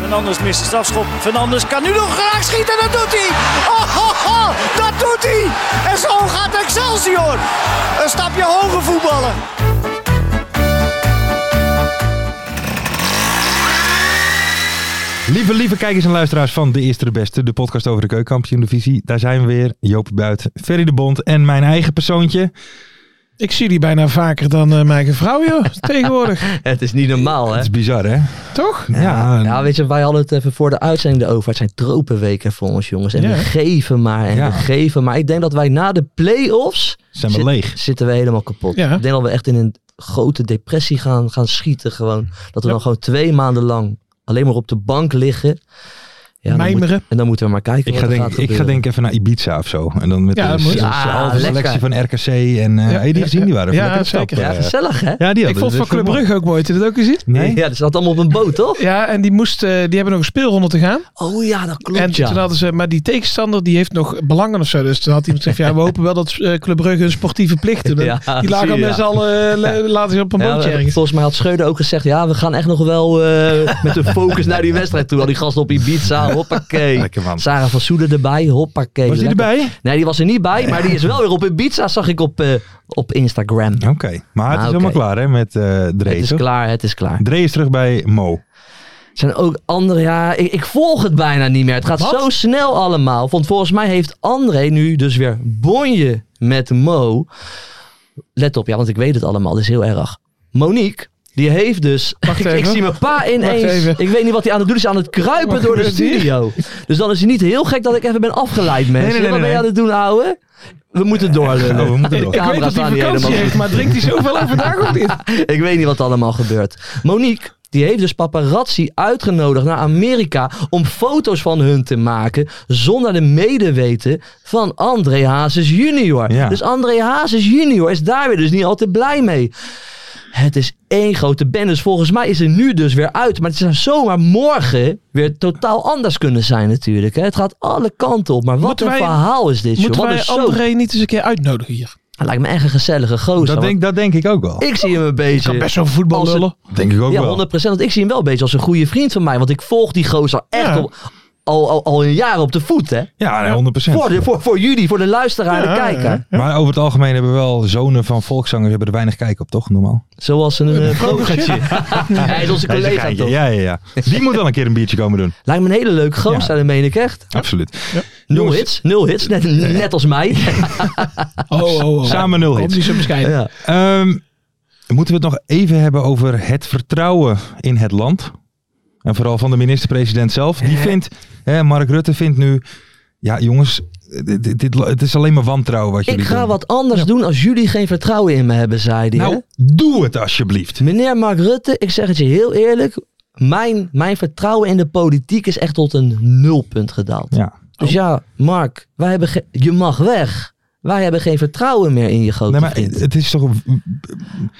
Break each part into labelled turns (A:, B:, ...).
A: Fernandes mist de strafschop. Fernandes kan nu nog graag schieten. Dat doet hij. Oh, oh, oh, dat doet hij. En zo gaat Excelsior. Een stapje hoger voetballen.
B: Lieve, lieve kijkers en luisteraars van De Eerste de Beste, de podcast over de keukenkampioen-divisie. Daar zijn we weer, Joop Buit, Ferry de Bond en mijn eigen persoontje.
C: Ik zie die bijna vaker dan eh, mijn eigen vrouw, joh. Tegenwoordig.
D: Het is niet normaal, hè?
B: Dat is bizar, hè?
C: Toch?
B: Ja,
D: Ja, weet je, wij hadden het even voor de uitzending erover. Het zijn tropenweken voor ons, jongens. En
C: Ja,
D: we
C: hè?
D: geven maar en
B: Ja.
D: we geven maar. Ik denk dat wij na de play-offs
B: zijn we
D: zit-
B: leeg.
D: zitten we helemaal kapot.
C: Ja.
D: Ik denk dat we echt in een grote depressie gaan, gaan schieten gewoon. Dat we dan gewoon twee maanden lang alleen maar op de bank liggen. Ja, dan
C: Mijmeren.
D: moet- en dan moeten we maar
B: Ik
D: kijken wat
B: ga,
D: er
B: denk,
D: gaat
B: ik ga
D: gebeuren.
B: denk even naar Ibiza of zo. En dan met
C: Ja,
B: de,
C: dat moet.
B: de- de-
D: Ja,
B: halve
D: lekker.
B: selectie van RKC. En eh
C: Ja,
B: hey, die
C: ja,
B: gezien, die
C: ja.
B: waren
C: Ja,
B: lekker in stap,
C: zeker.
D: Ja,
B: eh.
D: gezellig, hè?
B: Ja, die
C: ik vond van Club Brugge ook mooi. Heb je dat ook gezien?
B: Nee?
D: Ja, dat zat allemaal op een boot, toch?
C: Ja, en die, moesten, die hebben nog een speelronde te gaan.
D: Oh ja, dat klopt,
C: en
D: ja.
C: toen hadden ze, maar die tegenstander die heeft nog belangen of zo. Dus toen had iemand gezegd, ja, we hopen wel dat eh, Club Brugge hun sportieve plicht doet.
D: Ja,
C: die
D: zie
C: lagen
D: je,
C: met z'n
D: ja.
C: allen eh, la- later op een
D: Ja,
C: bootje ergens.
D: volgens mij had Schreuder ook gezegd, ja, we gaan echt nog wel eh, met de focus naar die wedstrijd toe. Al die gasten op Ibiza, hoppakee.
B: Lekker man.
D: Sarah van Soeden erbij, hoppakee.
B: Was die
D: Lekker.
B: erbij?
D: Nee, die was er niet bij, maar die is wel weer op Ibiza, zag ik op, eh, op Instagram.
B: Oké, maar het is
D: Ah,
B: helemaal
D: oké.
B: klaar hè met eh Dre.
D: het is
B: toch?
D: klaar, het is klaar.
B: Dre is terug bij Mo.
D: Er zijn ook andere, ja, ik, ik volg het bijna niet meer. Het gaat
C: Wat?
D: zo snel allemaal. Want volgens mij heeft André nu dus weer bonje met Mo. Let op, ja, want ik weet het allemaal, dit is heel erg. Monique, die heeft dus...
C: Wacht
D: ik, ik
C: even.
D: zie mijn pa
C: Wacht
D: ineens.
C: even.
D: Ik weet niet wat hij aan het doen is, aan het kruipen
C: Wat
D: door de
C: gebeurt hier?
D: studio. Dus dan is het niet heel gek dat ik even ben afgeleid, mensen.
B: nee, nee,
D: wat ben je
B: nee.
D: aan het doen, ouwe? We moeten doorlullen.
B: Oh, we moeten door.
C: Ik weet dat hij
D: staan niet
C: vakantie
D: helemaal
C: heeft,
D: goed.
C: maar drinkt hij zoveel aan vandaag ook niet?
D: Ik weet niet wat er allemaal gebeurt. Monique, die heeft dus paparazzi uitgenodigd naar Amerika om foto's van hun te maken zonder de medeweten van André Hazes junior.
B: Ja.
D: Dus André Hazes junior is daar weer dus niet altijd blij mee. Het is één grote band. Dus volgens mij is er nu dus weer uit. Maar het zou zomaar morgen weer totaal anders kunnen zijn natuurlijk. Hè. Het gaat alle kanten op. Maar wat
C: Moeten
D: een
C: wij-
D: verhaal is dit, joh.
C: Moeten
D: Wat een
C: wij
D: soap.
C: André niet eens een keer uitnodigen hier?
D: Hij Lijkt me echt een gezellige gozer.
B: Dat
D: want
B: denk, dat denk ik ook wel.
D: Ik zie hem een beetje...
C: Kan best wel voetbal
D: Als het-
C: lullen.
B: denk ik ook
D: Ja,
B: wel.
D: 100%. Want ik zie hem wel een beetje als een goede vriend van mij. Want ik volg die gozer echt
C: Ja.
D: op, al, al, al een jaar op de voet, hè?
B: Ja, nee, 100
D: Voor, de, voor, voor jullie, voor de luisteraar en
C: Ja,
D: de kijker.
C: ja.
B: Maar over het algemeen hebben we wel zonen van volkszangers hebben er weinig kijk op, toch? Normaal.
D: Zoals een eh, vogeltje. Hij is onze
B: Nee,
D: collega,
B: geintje.
D: toch?
B: ja, ja, ja. Die moet wel een keer een biertje komen doen.
D: Lijkt me een hele leuke gozer,
B: Ja.
D: dat meen ik echt.
B: Absoluut.
D: Nul
B: Jongens.
D: hits, nul hits, net, net als mij.
C: Oh, oh, oh.
B: Samen nul
C: Komt
B: hits.
C: niet zo bescheiden.
D: ja.
B: Ehm, moeten we het nog even hebben over het vertrouwen in het land? En vooral van de minister-president zelf.
D: Eh.
B: Die vindt, hè, Mark Rutte vindt nu, ja jongens, dit, dit, dit- het is alleen maar wantrouwen wat jullie
D: Ik ga
B: doen.
D: wat anders doen als jullie geen vertrouwen in me hebben, zei hij. hè?
B: Nou, doe het alsjeblieft.
D: Meneer Mark Rutte, ik zeg het je heel eerlijk. Mijn, mijn vertrouwen in de politiek is echt tot een nulpunt gedaald.
B: Ja.
D: Dus ja, Mark, wij hebben ge- je mag weg. Wij hebben geen vertrouwen meer in je grote
B: Nee, maar
D: vriend.
B: het is toch...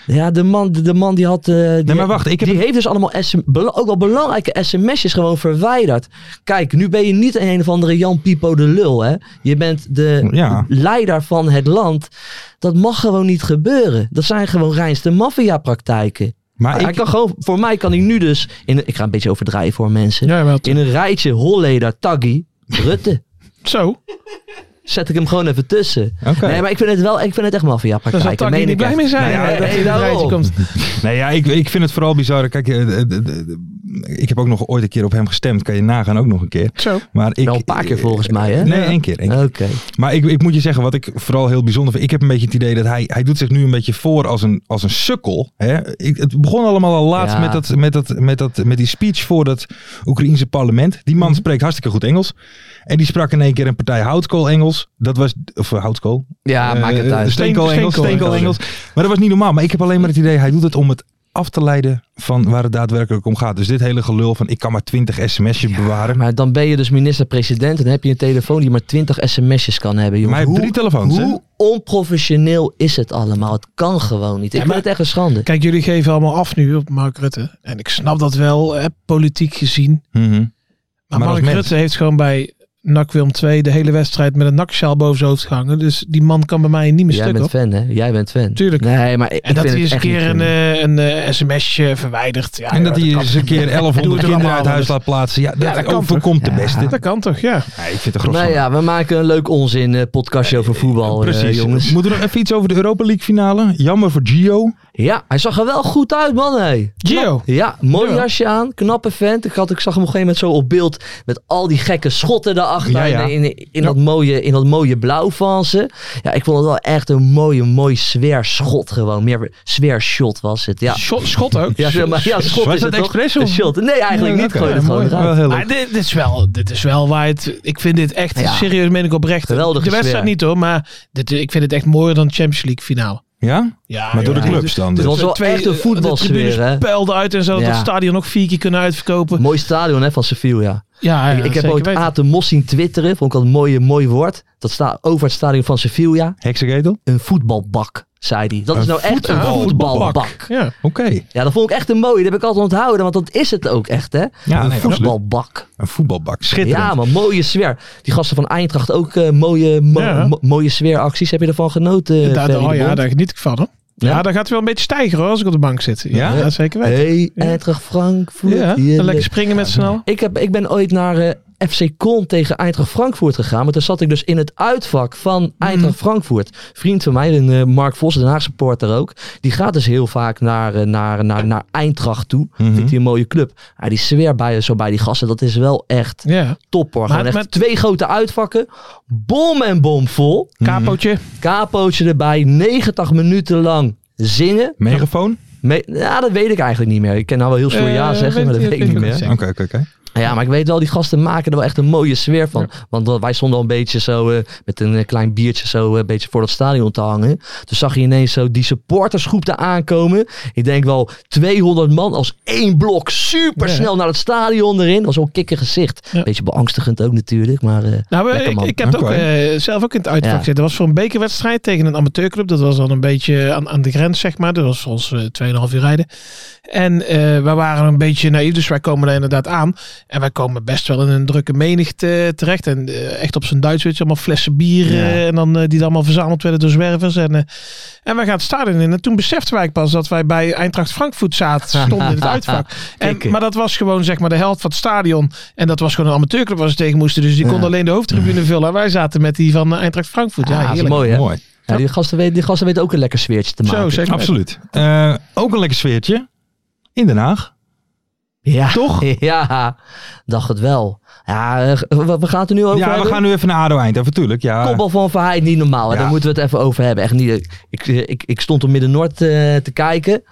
D: Ja, de man, de, de man die had... eh, die,
B: maar wacht, ik heb-
D: die heeft dus allemaal SM bela- ook al belangrijke sms'jes gewoon verwijderd. Kijk, nu ben je niet een, een of andere Jan Pipo de lul, hè. Je bent de
B: Ja.
D: leider van het land. Dat mag gewoon niet gebeuren. Dat zijn gewoon reinste maffiapraktijken.
B: Maar
D: Hij
B: ik,
D: kan gewoon, voor mij kan ik nu dus... In, een- ik ga een beetje overdrijven voor mensen.
C: Ja, wel.
D: In een rijtje Holleder, Taggi, Rutte.
C: Zo,
D: zet ik hem gewoon even tussen.
B: Oké.
D: Nee, maar ik vind het wel, ik vind het echt maffia
C: daar zal
D: praktijk.
C: Taki niet blij mee zijn. hè,
D: Nee, nee,
C: dat hij in
D: Nou eh, daarom.
C: het rijtje komt.
B: Nee, ja, ik, ik vind het vooral bizar. Kijk, eh, eh, eh, eh, ik heb ook nog ooit een keer op hem gestemd. Kan je nagaan ook nog een keer.
C: Zo.
B: Maar ik,
D: Wel een
C: eh,
D: paar keer volgens mij, hè?
B: Nee, één keer. één keer.
D: Oké.
B: Maar ik, ik moet je zeggen, wat ik vooral heel bijzonder vind. Ik heb een beetje het idee dat hij, hij doet zich nu een beetje voor als een, als een sukkel. Hè? Ik, het begon allemaal al laatst
D: Ja.
B: met, dat, met, dat, met, dat, met die speech voor dat Oekraïense parlement. Die
D: Mhm.
B: man spreekt hartstikke goed Engels. En die sprak in één keer een partij houtkool Engels. Dat was, of eh, houtkool.
D: Ja,
B: Eh,
D: maak het
B: eh,
D: uit.
B: Steenkool
C: Steen-
B: Engels,
C: steenkool
B: steenkool Engels. Maar dat was niet normaal. Maar ik heb alleen maar het idee, hij doet het om het af te leiden van waar het daadwerkelijk om gaat. Dus dit hele gelul van ik kan maar 20 sms'jes bewaren.
D: Maar dan ben je dus minister-president en heb je een telefoon die maar 20 sms'jes kan hebben. Jongens.
B: Maar hij heeft
D: Hoe-
B: drie telefoons, hè?
D: Hoe onprofessioneel is het allemaal? Het kan gewoon niet. Ik
C: Ja,
D: vind
C: maar-
D: het echt een schande.
C: Kijk, jullie geven allemaal af nu op Mark Rutte. En ik snap dat wel, hè, politiek gezien.
B: Mhm.
C: Maar,
B: Maar als
C: Mark
B: mens.
C: Rutte heeft gewoon bij NAC Wilm 2 de hele wedstrijd met een naksjaal boven zijn hoofd gehangen. Dus die man kan bij mij niet meer
D: Jij
C: stuk
D: bent
C: op.
D: fan, hè? Jij bent fan.
C: Tuurlijk.
D: Nee, maar ik
C: En dat
D: ik vind
C: hij
D: het
C: eens een
D: echt niet
C: keer een,
D: kunnen.
C: eh, een, eh, sms'je verwijderd. Ja,
B: En dat hij
C: joh,
B: eens een keer
C: Doe
B: 1100
C: het
B: kinderen
C: allemaal
B: uit huis
C: anders.
B: laat plaatsen. Ja, dat,
C: Ja, dat kan
B: overkomt de beste.
C: kan- dat kan toch, ja.
B: Ja, ik
C: eh,
B: vind het gros.
D: Nou ja, we maken een leuk onzin eh, podcastje over voetbal, eh,
B: Precies.
D: jongens.
B: Moeten we nog even iets over de Europa League finale? Jammer voor Gio.
D: Ja, hij zag er wel goed uit, man. Hey.
C: Gio.
D: Ja, mooi
C: Ja.
D: jasje aan. Knappe vent. Ik, had, ik zag hem op een gegeven moment zo op beeld met al die gekke schotten daarachter.
B: Ja, ja.
D: In, in, in dat mooie, in dat mooie blauw van ze. Ja, ik vond het wel echt een mooie, mooi zwer schot gewoon. Meer zwer shot was het. Ja,
C: Schot, schot ook.
D: ja, zeg maar, ja schot
B: Was
D: is
B: dat
D: het toch?
B: expres,
D: Een
B: of-
D: shot. Nee, eigenlijk niet.
B: Oké,
D: Gooi het
B: mooi.
D: gewoon eruit.
B: Wel heel leuk.
C: Maar dit, dit is wel, dit is wel waar het... Ik vind dit echt,
D: Ja.
C: serieus meen ik oprecht.
D: Geweldige
C: De wedstrijd
D: sfeer.
C: niet hoor, maar dit, ik vind het echt mooier dan de Champions League finale.
B: Ja?
C: Ja,
B: Maar door de
C: joh.
B: clubs dan.
D: Het
B: dus.
D: was wel echt een
C: eh, De
D: voetbalsfeer, hè?
C: tribunes puilden uit en zo.
D: Ja.
C: Dat stadion nog vier keer kunnen uitverkopen.
D: Mooi stadion hè, van Sevilla. Ja.
C: Ja, ja,
D: ik ik heb
C: zeker
D: ooit
C: weten.
D: Aten Mos zien twitteren. Vond ik dat een mooie, mooi woord. Dat staat over het stadion van Sevilla.
B: Heksegetel?
D: Een voetbalbak, zei hij. Dat is
B: Een
D: nou echt een
B: voetbalbak.
D: voetbalbak.
C: Ja.
B: Oké.
D: Ja, dat vond ik echt een mooie. Dat heb ik altijd onthouden, want dat is het ook echt, hè?
B: Ja,
D: een
B: nee,
D: voetbalbak.
B: Een voetbalbak. Schitterend.
D: Ja, maar mooie sfeer. Die gasten van Eindracht ook eh, mooie, mo-
C: Ja.
D: mo- mooie sfeeracties. Heb je ervan genoten? eh,
C: Daar,
D: Ferry de
C: oh ja,
D: Bond?
C: daar geniet ik van. Hoor. Ja?
D: Ja?
C: daar gaat het wel een beetje stijgen hoor, als ik op de bank zit.
B: Ja?
C: zeker weten.
D: Hey, Eindracht Frankfurt.
C: Ja,
D: die, eh,
C: lekker springen met z'n allen.
D: Ik, heb, ik ben ooit naar eh, FC Köln tegen Eintracht Frankfurt gegaan. Maar toen zat ik dus in het uitvak van
C: Mhm.
D: Eintracht Frankfurt. Vriend van mij, een, eh, Mark Vos, Den Haag supporter ook. Die gaat dus heel vaak naar, eh, naar, naar, naar Eintracht toe.
C: Mhm.
D: Vindt hij een mooie club. Ah, die sfeer bij, zo bij die gasten, dat is wel echt
C: Ja,
D: top hoor. Gewoon
C: Maar-
D: echt
C: maar-
D: twee grote uitvakken. Bom en bom vol.
C: kapootje.
D: Kapootje erbij. 90 minuten lang zingen.
B: Megafoon?
D: Me- ja, dat weet ik eigenlijk niet meer. Ik ken nou wel heel stoer
C: Eh,
D: ja zeggen,
C: weet-
D: maar dat weet ik niet
C: ook
D: meer.
C: niet.
B: Oké, oké, oké.
D: Ja, maar ik weet wel, die gasten maken er wel echt een mooie sfeer van. Want wel, wij stonden al een beetje zo eh, met een eh, klein biertje zo eh, een beetje voor dat stadion te hangen. Toen zag je ineens zo die supportersgroep daar aankomen. Ik denk wel 200 man als één blok supersnel naar het stadion erin. Dat was wel een kikker gezicht.
C: Ja.
D: Beetje beangstigend ook natuurlijk, maar eh,
C: Nou, eh,
D: lekker
C: ik,
D: man.
C: ik heb het ook
B: Oké.
C: eh, zelf ook in het uitvak
D: Ja.
C: zitten. Dat was voor een bekerwedstrijd tegen een amateurclub. Dat was dan een beetje aan, aan de grens, zeg maar. Dat was voor ons eh 2,5 uur rijden. En eh, wij waren een beetje naïef, dus wij komen daar inderdaad aan. En wij komen best wel in een drukke menigte terecht. En eh, echt op zijn Duits, weet je, allemaal flessen bier.
D: Ja.
C: eh, en dan, eh, die dan allemaal verzameld werden door zwervers. En, eh, en wij gaan het stadion in. En toen beseften wij pas dat wij bij Eintracht Frankfurt zaten. Stonden in het uitvak. En,
D: Kikken.
C: maar dat was gewoon zeg maar de helft van het stadion. En dat was gewoon een amateurclub waar ze tegen moesten. Dus die
D: Ja.
C: konden alleen de hoofdtribune vullen. En wij zaten met die van eh, Eintracht Frankfurt. Ja,
D: Ja, dat is
C: heerlijk.
D: mooi hè.
B: Mooi.
D: Ja, die, gasten weten, die gasten weten ook een lekker sfeertje te maken.
C: Zo, zeker.
B: Absoluut. Eh, ook een lekker sfeertje. In Den Haag.
D: Ja.
B: Toch?
D: Ja, dacht het wel. Ja, eh, we, we gaan het er nu over
B: Ja, we
D: hebben.
B: gaan nu even naar ADO-eind. Even tuurlijk. Ja.
D: Kopbal van Verheid niet normaal. hè.
B: Ja.
D: Daar moeten we het even over hebben. Echt niet. Ik, ik, ik stond op Midden-Noord eh, te kijken.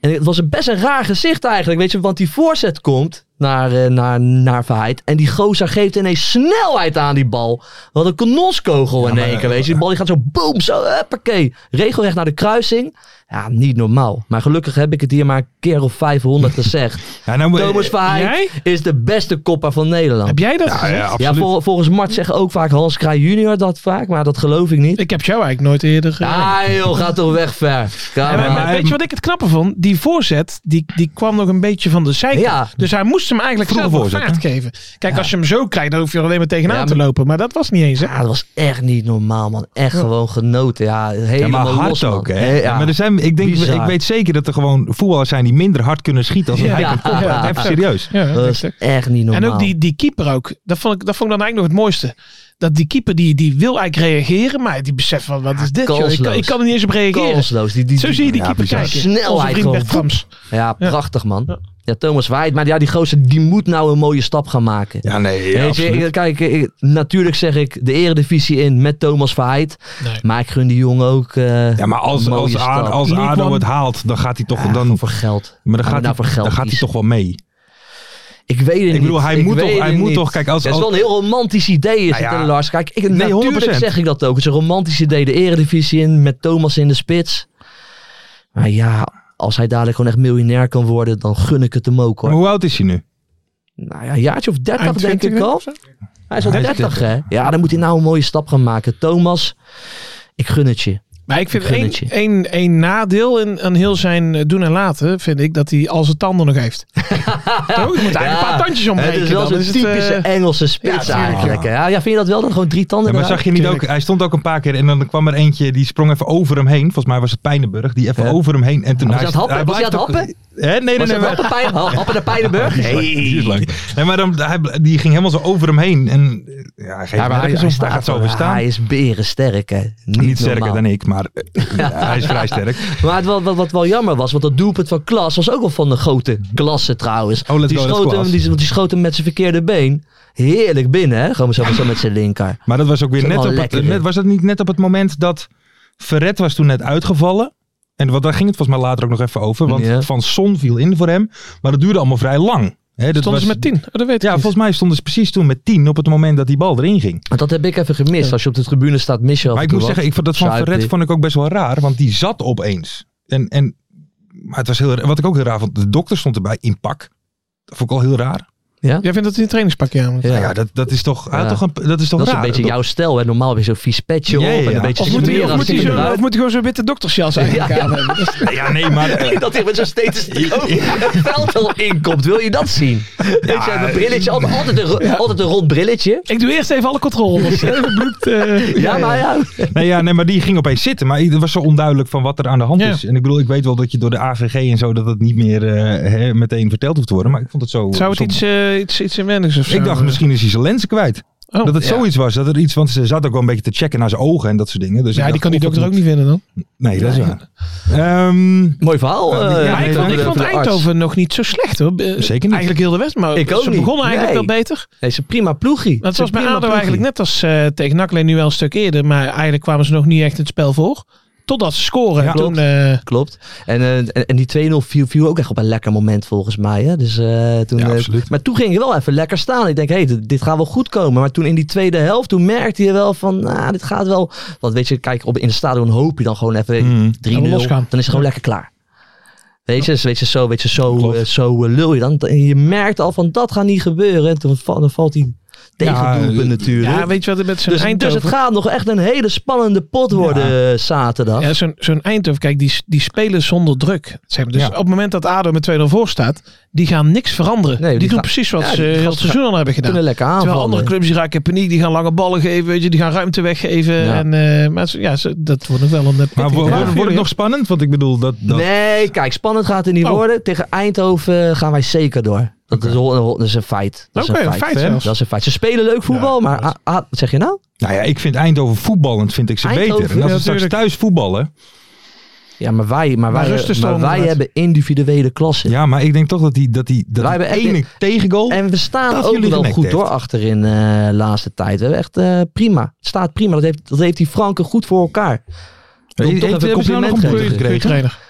D: En het was een best een raar gezicht eigenlijk. Weet je, want die voorzet komt naar, eh, naar, naar Verheid. En die gozer geeft ineens snelheid aan die bal. Wat een kanonskogel in
B: maar,
D: één keer.
B: eh,
D: Weet je, die bal die gaat zo boom, zo huppakee. Regelrecht naar de kruising. Ja, niet normaal. Maar gelukkig heb ik het hier maar een keer of 500 gezegd.
B: Ja, nou, eh,
D: Thomas Verheid is de beste kopper van Nederland.
C: Heb jij dat?
B: Ja, ja,
D: Ja,
B: absoluut.
D: vol- volgens Mart zeggen ook vaak Hans Kraaij junior dat vaak, maar dat geloof ik niet.
C: Ik heb jou eigenlijk nooit eerder. eh,
D: Ah joh, ga toch weg ver. Kom
C: en-
D: maar.
C: maar- maar weet je wat ik het knappe vond? Die voorzet, die, die kwam nog een beetje van de zijkant.
D: Ja.
C: Dus hij moest hem eigenlijk
B: Vroege
C: zelf een
B: voorzet,
C: vaart geven. Kijk, als je hem zo krijgt, dan hoef je er alleen maar tegenaan
D: Ja,
C: te
D: maar-
C: lopen. Maar dat was niet eens, hè?
D: Ja, dat was echt niet normaal man. Echt gewoon genoten. Ja,
B: Ja, maar
D: helemaal los,
B: hard
D: man.
B: ook, hè?
D: He- ja.
B: Maar er zijn, ik, denk,
D: Bizar.
B: ik weet zeker dat er gewoon voetballers zijn die minder hard kunnen schieten als een
C: Ja.
B: hij kan koppen.
C: Ja.
B: Even serieus.
C: Ja,
D: Dat
C: dat
D: is
C: is-
D: echt niet normaal.
C: En ook die, die keeper ook. Dat vond, ik, dat vond ik dan eigenlijk nog het mooiste. Dat die keeper die, die wil eigenlijk reageren, maar die beseft van wat is dit? joh? Ik, kan,
D: Kansloos.
C: ik kan er niet eens op reageren.
D: kansloos. Die, die,
C: Zo zie je die
B: Ja,
C: keeper
B: bizar.
C: kijken.
D: Snelheid
C: Onze vriend
D: gewoon.
C: Bert Krams.
D: Ja, prachtig man.
C: Ja.
D: Ja, Thomas Waait. Maar ja, die gozer die moet nou een mooie stap gaan maken.
B: Ja, nee, ja,
D: Weet je,
B: absoluut.
D: ik- kijk, ik- natuurlijk zeg ik de eredivisie in met Thomas Verheid.
C: Nee.
D: Maar ik gun die jongen ook eh,
B: Ja, maar als,
D: een mooie
B: als, A-
D: stap.
B: als
C: League
B: ADO
C: One.
B: het haalt, dan gaat hij toch...
D: Ja,
B: dan,
D: voor geld.
B: maar dan
D: Gaan we
B: gaat,
D: nou voor
B: hij,
D: geld
B: dan gaat hij
D: kiezen?
B: toch wel mee.
D: Ik weet het
B: Ik bedoel,
D: niet.
B: hij moet
D: weet
B: toch- hij
D: het
B: moet
D: niet.
B: toch- kijk, als-
D: Het is wel
B: als-
D: een heel romantisch idee, is
B: Nou ja.
D: het, hè, Lars. Kijk, ik,
B: Nee, 100%.
D: natuurlijk zeg ik dat ook. Het is een romantisch idee, de eredivisie in, met Thomas in de spits. Maar ja, als hij dadelijk gewoon echt miljonair kan worden, dan gun ik het hem ook, hoor.
B: Maar hoe oud is hij nu?
D: Nou ja, een jaartje of dertig
C: Eind
D: denk ik
C: 20
D: al.
C: of zo?
D: Hij is al
B: Hij is 30.
D: 30, hè? Ja, dan moet hij nou een mooie stap gaan maken. Thomas, ik gun het je.
C: Maar ik vind
D: Ik gun
C: één,
D: het je.
C: één, één nadeel in, aan heel zijn eh, doen en laten, vind ik, dat hij al zijn tanden nog heeft. Toch? Je moet eigenlijk een paar tandjes
D: het
C: ombreken.
D: is wel
C: dan
D: zo'n
C: is het,
D: typische
C: eh,
D: Engelse spits
C: tuurlijk,
D: eigenlijk. hè. Ja. ja, vind je dat wel? Dan gewoon drie tanden
B: Ja, maar
D: eruit?
B: zag je niet ook, hij stond ook een paar keer en dan kwam er eentje die sprong even over hem heen. Volgens mij was het Pijnenburg, die even
D: Ja.
B: over hem heen. En toen
D: Was hij aan het happen? Was hij
B: blijft
D: aan het
B: ook- Hè? Nee, nee,
D: Was
B: nee.
D: dat
B: maar-
D: Happen Pijn- Happen de Pijnenburg?
B: Die is lang, die is lang. Nee, maar dan, hij, bl- die ging helemaal zo over hem heen. En eh, ja, hij, geeft
D: Ja, maar hij,
B: nergens
D: hij,
B: om.
D: staat,
B: hij gaat zo
D: er-
B: over staan.
D: hij is berensterk, hè. Niet,
B: niet sterker
D: normaal.
B: dan ik, maar eh, hij is vrij sterk.
D: Maar het, wat, wat, wat wel jammer was, want dat doelpunt van Klas was ook wel van de grote klasse trouwens.
B: Oh, let's
D: die,
B: go, let's
D: schoot
B: Klas.
D: hem, die, want die schoot hem met zijn verkeerde been. Heerlijk binnen, hè? Gewoon zo, zo met zijn linker.
B: Maar dat was ook weer
D: Zo
B: net
D: wel
B: op het,
D: lekker,
B: net,
D: hè?
B: was dat niet net op het moment dat Verret was toen net uitgevallen. En wat, daar ging het volgens mij later ook nog even over. Want
D: Ja.
B: Van Son viel in voor hem. Maar dat duurde allemaal vrij lang. Hè, dat
C: Stonden ze
B: was-
C: met tien? Oh, dat weet ik
B: Ja,
C: niet.
B: volgens mij stonden ze precies toen met 10 op het moment dat die bal erin ging.
D: Want dat heb ik even gemist. Als je op de tribune staat, mis je af
B: Maar
D: en
B: ik
D: toe
B: moet
D: wat.
B: zeggen, ik vond dat van
D: Zuidelijk.
B: Verret vond ik ook best wel raar, want die zat opeens. En, en maar het was heel, raar. wat ik ook heel raar vond, de dokter stond erbij in pak. Dat vond ik al heel raar. Nou
C: Jij vindt dat hij een trainingspakje aan moet.
D: Ja.
B: Ja, dat, dat is toch, hij had
D: Ja.
B: toch een, dat is toch
D: dat is
B: raar.
D: een beetje
B: Dat-
D: jouw stijl, hè? Normaal heb je zo'n vies petje op
B: Ja, ja,
D: en
B: ja.
D: een beetje
C: Of moet, hij, of,
D: smerig
C: moet hij zo,
D: eruit.
C: of moet hij gewoon zo'n witte doktersjas eigenlijk aan hebben? Dat is-
B: Ja, nee, maar eh,
D: dat hij met zo'n stethoscoop het veld al inkomt. Wil je dat zien? Weet je, een brilletje, altijd, altijd, een, ro- altijd een rond brilletje.
C: Ik doe eerst even alle controles. Even bloed, eh,
D: Ja, maar ja.
B: nee, ja, nee, maar die ging opeens zitten. Maar het was zo onduidelijk van wat er aan de hand
C: Ja.
B: is. En ik bedoel, ik weet wel dat je door de AVG en zo, dat het niet meer eh, hè, meteen verteld hoeft te worden. Maar ik vond het zo...
C: Zou het
B: zo-
C: iets, eh, iets, iets inwendigs of zo?
B: Ik dacht, misschien is hij zijn lenzen kwijt.
C: Oh,
B: dat het
C: ja.
B: zoiets was. Dat er iets, want ze zat ook wel een beetje te checken naar zijn ogen en dat soort dingen. Dus ik
C: Ja, die
B: dacht,
C: kan die
B: of het
C: dokter ook niet vinden dan.
B: Nee, dat is waar. Ehm,
D: Mooi verhaal.
B: Ja,
D: eh,
B: ja,
C: maar
B: nee,
C: ik
D: van
C: vond,
D: de-
C: ik
D: van
C: vond
D: de arts.
C: Eindhoven nog niet zo slecht hoor. Eh,
B: Zeker niet.
C: Eigenlijk heel de West, maar
D: Ik ook
C: ze
D: niet.
C: begonnen eigenlijk
D: Nee.
C: wel beter.
D: Nee, ze prima ploegie.
C: Want
D: Ze
C: zoals bij
D: prima
C: ADO
D: ploegie.
C: eigenlijk net als eh, tegen NAC alleen nu wel een stuk eerder. Maar eigenlijk kwamen ze nog niet echt het spel voor. Totdat ze scoren.
B: Ja,
C: en toen,
D: klopt.
C: eh,
D: Klopt. En, eh, en, en die 2-0 viel, viel ook echt op een lekker moment volgens mij. Hè? Dus, eh, toen,
B: Ja,
D: eh,
B: absoluut.
D: maar toen ging je wel even lekker staan. Ik denk, hé, hey, dit, dit gaat wel goed komen. Maar toen in die tweede helft, toen merkte je wel van, nou, dit gaat wel. Want weet je, kijk, op, in het stadion hoop je dan gewoon even
B: Mm.
D: 3-0. Dan
C: Even
D: is
C: losgaan.
D: het gewoon
C: Ja.
D: lekker klaar. Weet je, dus weet je, zo, weet je, zo,
B: Klopt.
D: eh, zo eh, lul je dan. En Je merkt al van, dat gaat niet gebeuren. En toen va- dan valt hij tegen
B: Ja,
D: het doelpunt
B: eh,
D: natuurlijk.
C: ja, weet je wat het met zo'n
D: dus, dus
C: Eindhoven...
D: het gaat nog echt een hele spannende pot worden eh, zaterdag.
C: ja, zo'n zo'n Eindhoven, kijk, die, die spelen zonder druk. Zeg maar. Dus
B: Ja.
C: op het moment dat ADO met 2-0 voor staat, die gaan niks veranderen.
D: Nee,
C: die,
D: die
C: doen
D: gaan-
C: precies wat
D: ja,
C: ze
D: die
C: heel
D: gasten
C: het seizoen al hebben gedaan.
D: kunnen lekker
C: Terwijl
D: aanvallen.
C: andere clubs die raken in paniek, die gaan lange ballen geven, weet je, die gaan ruimte weggeven.
D: Ja.
C: En, eh, maar ze- ja, ze- dat wordt nog wel een eh,
B: Maar
C: pittige
B: wo-
C: dag.
B: wordt, wordt het nog spannend? Want ik bedoel, dat... dat
D: Nee, kijk, spannend gaat het niet
C: Oh.
D: worden. Tegen Eindhoven eh, gaan wij zeker door. Dat, is, hol- dat is een feit. Dat
C: Oké,
D: is een
C: een
D: feit.
C: feit zelfs.
D: Dat is een feit. Ze spelen leuk voetbal, maar ah, ah, wat zeg je nou?
B: Nou ja, ik vind Eindhoven voetballend vind ik ze
D: Eindhoven,
B: beter. En als
C: ja,
B: ze straks
C: tuurlijk.
B: thuis voetballen...
D: Ja, maar wij, maar
C: Maar
D: wij,
C: rust is
D: maar
C: dan
D: wij
C: net.
D: hebben individuele klassen.
B: Ja, maar ik denk toch dat die, dat die, dat
D: Wij
B: die
D: hebben echt-
B: ene tegengoal...
D: En we staan
B: Dat
D: ook
B: jullie
D: wel
B: genekt
D: goed
B: heeft.
D: door achterin eh, de laatste tijd. We hebben echt eh, prima. Het staat prima. Dat heeft, dat heeft die Franken goed voor elkaar. Ik wil
B: Heeft-
D: toch even
B: hebben ze nou nog
D: compliment
B: een
D: geven.
B: boete
C: Goeie
B: gekregen?
C: trainer.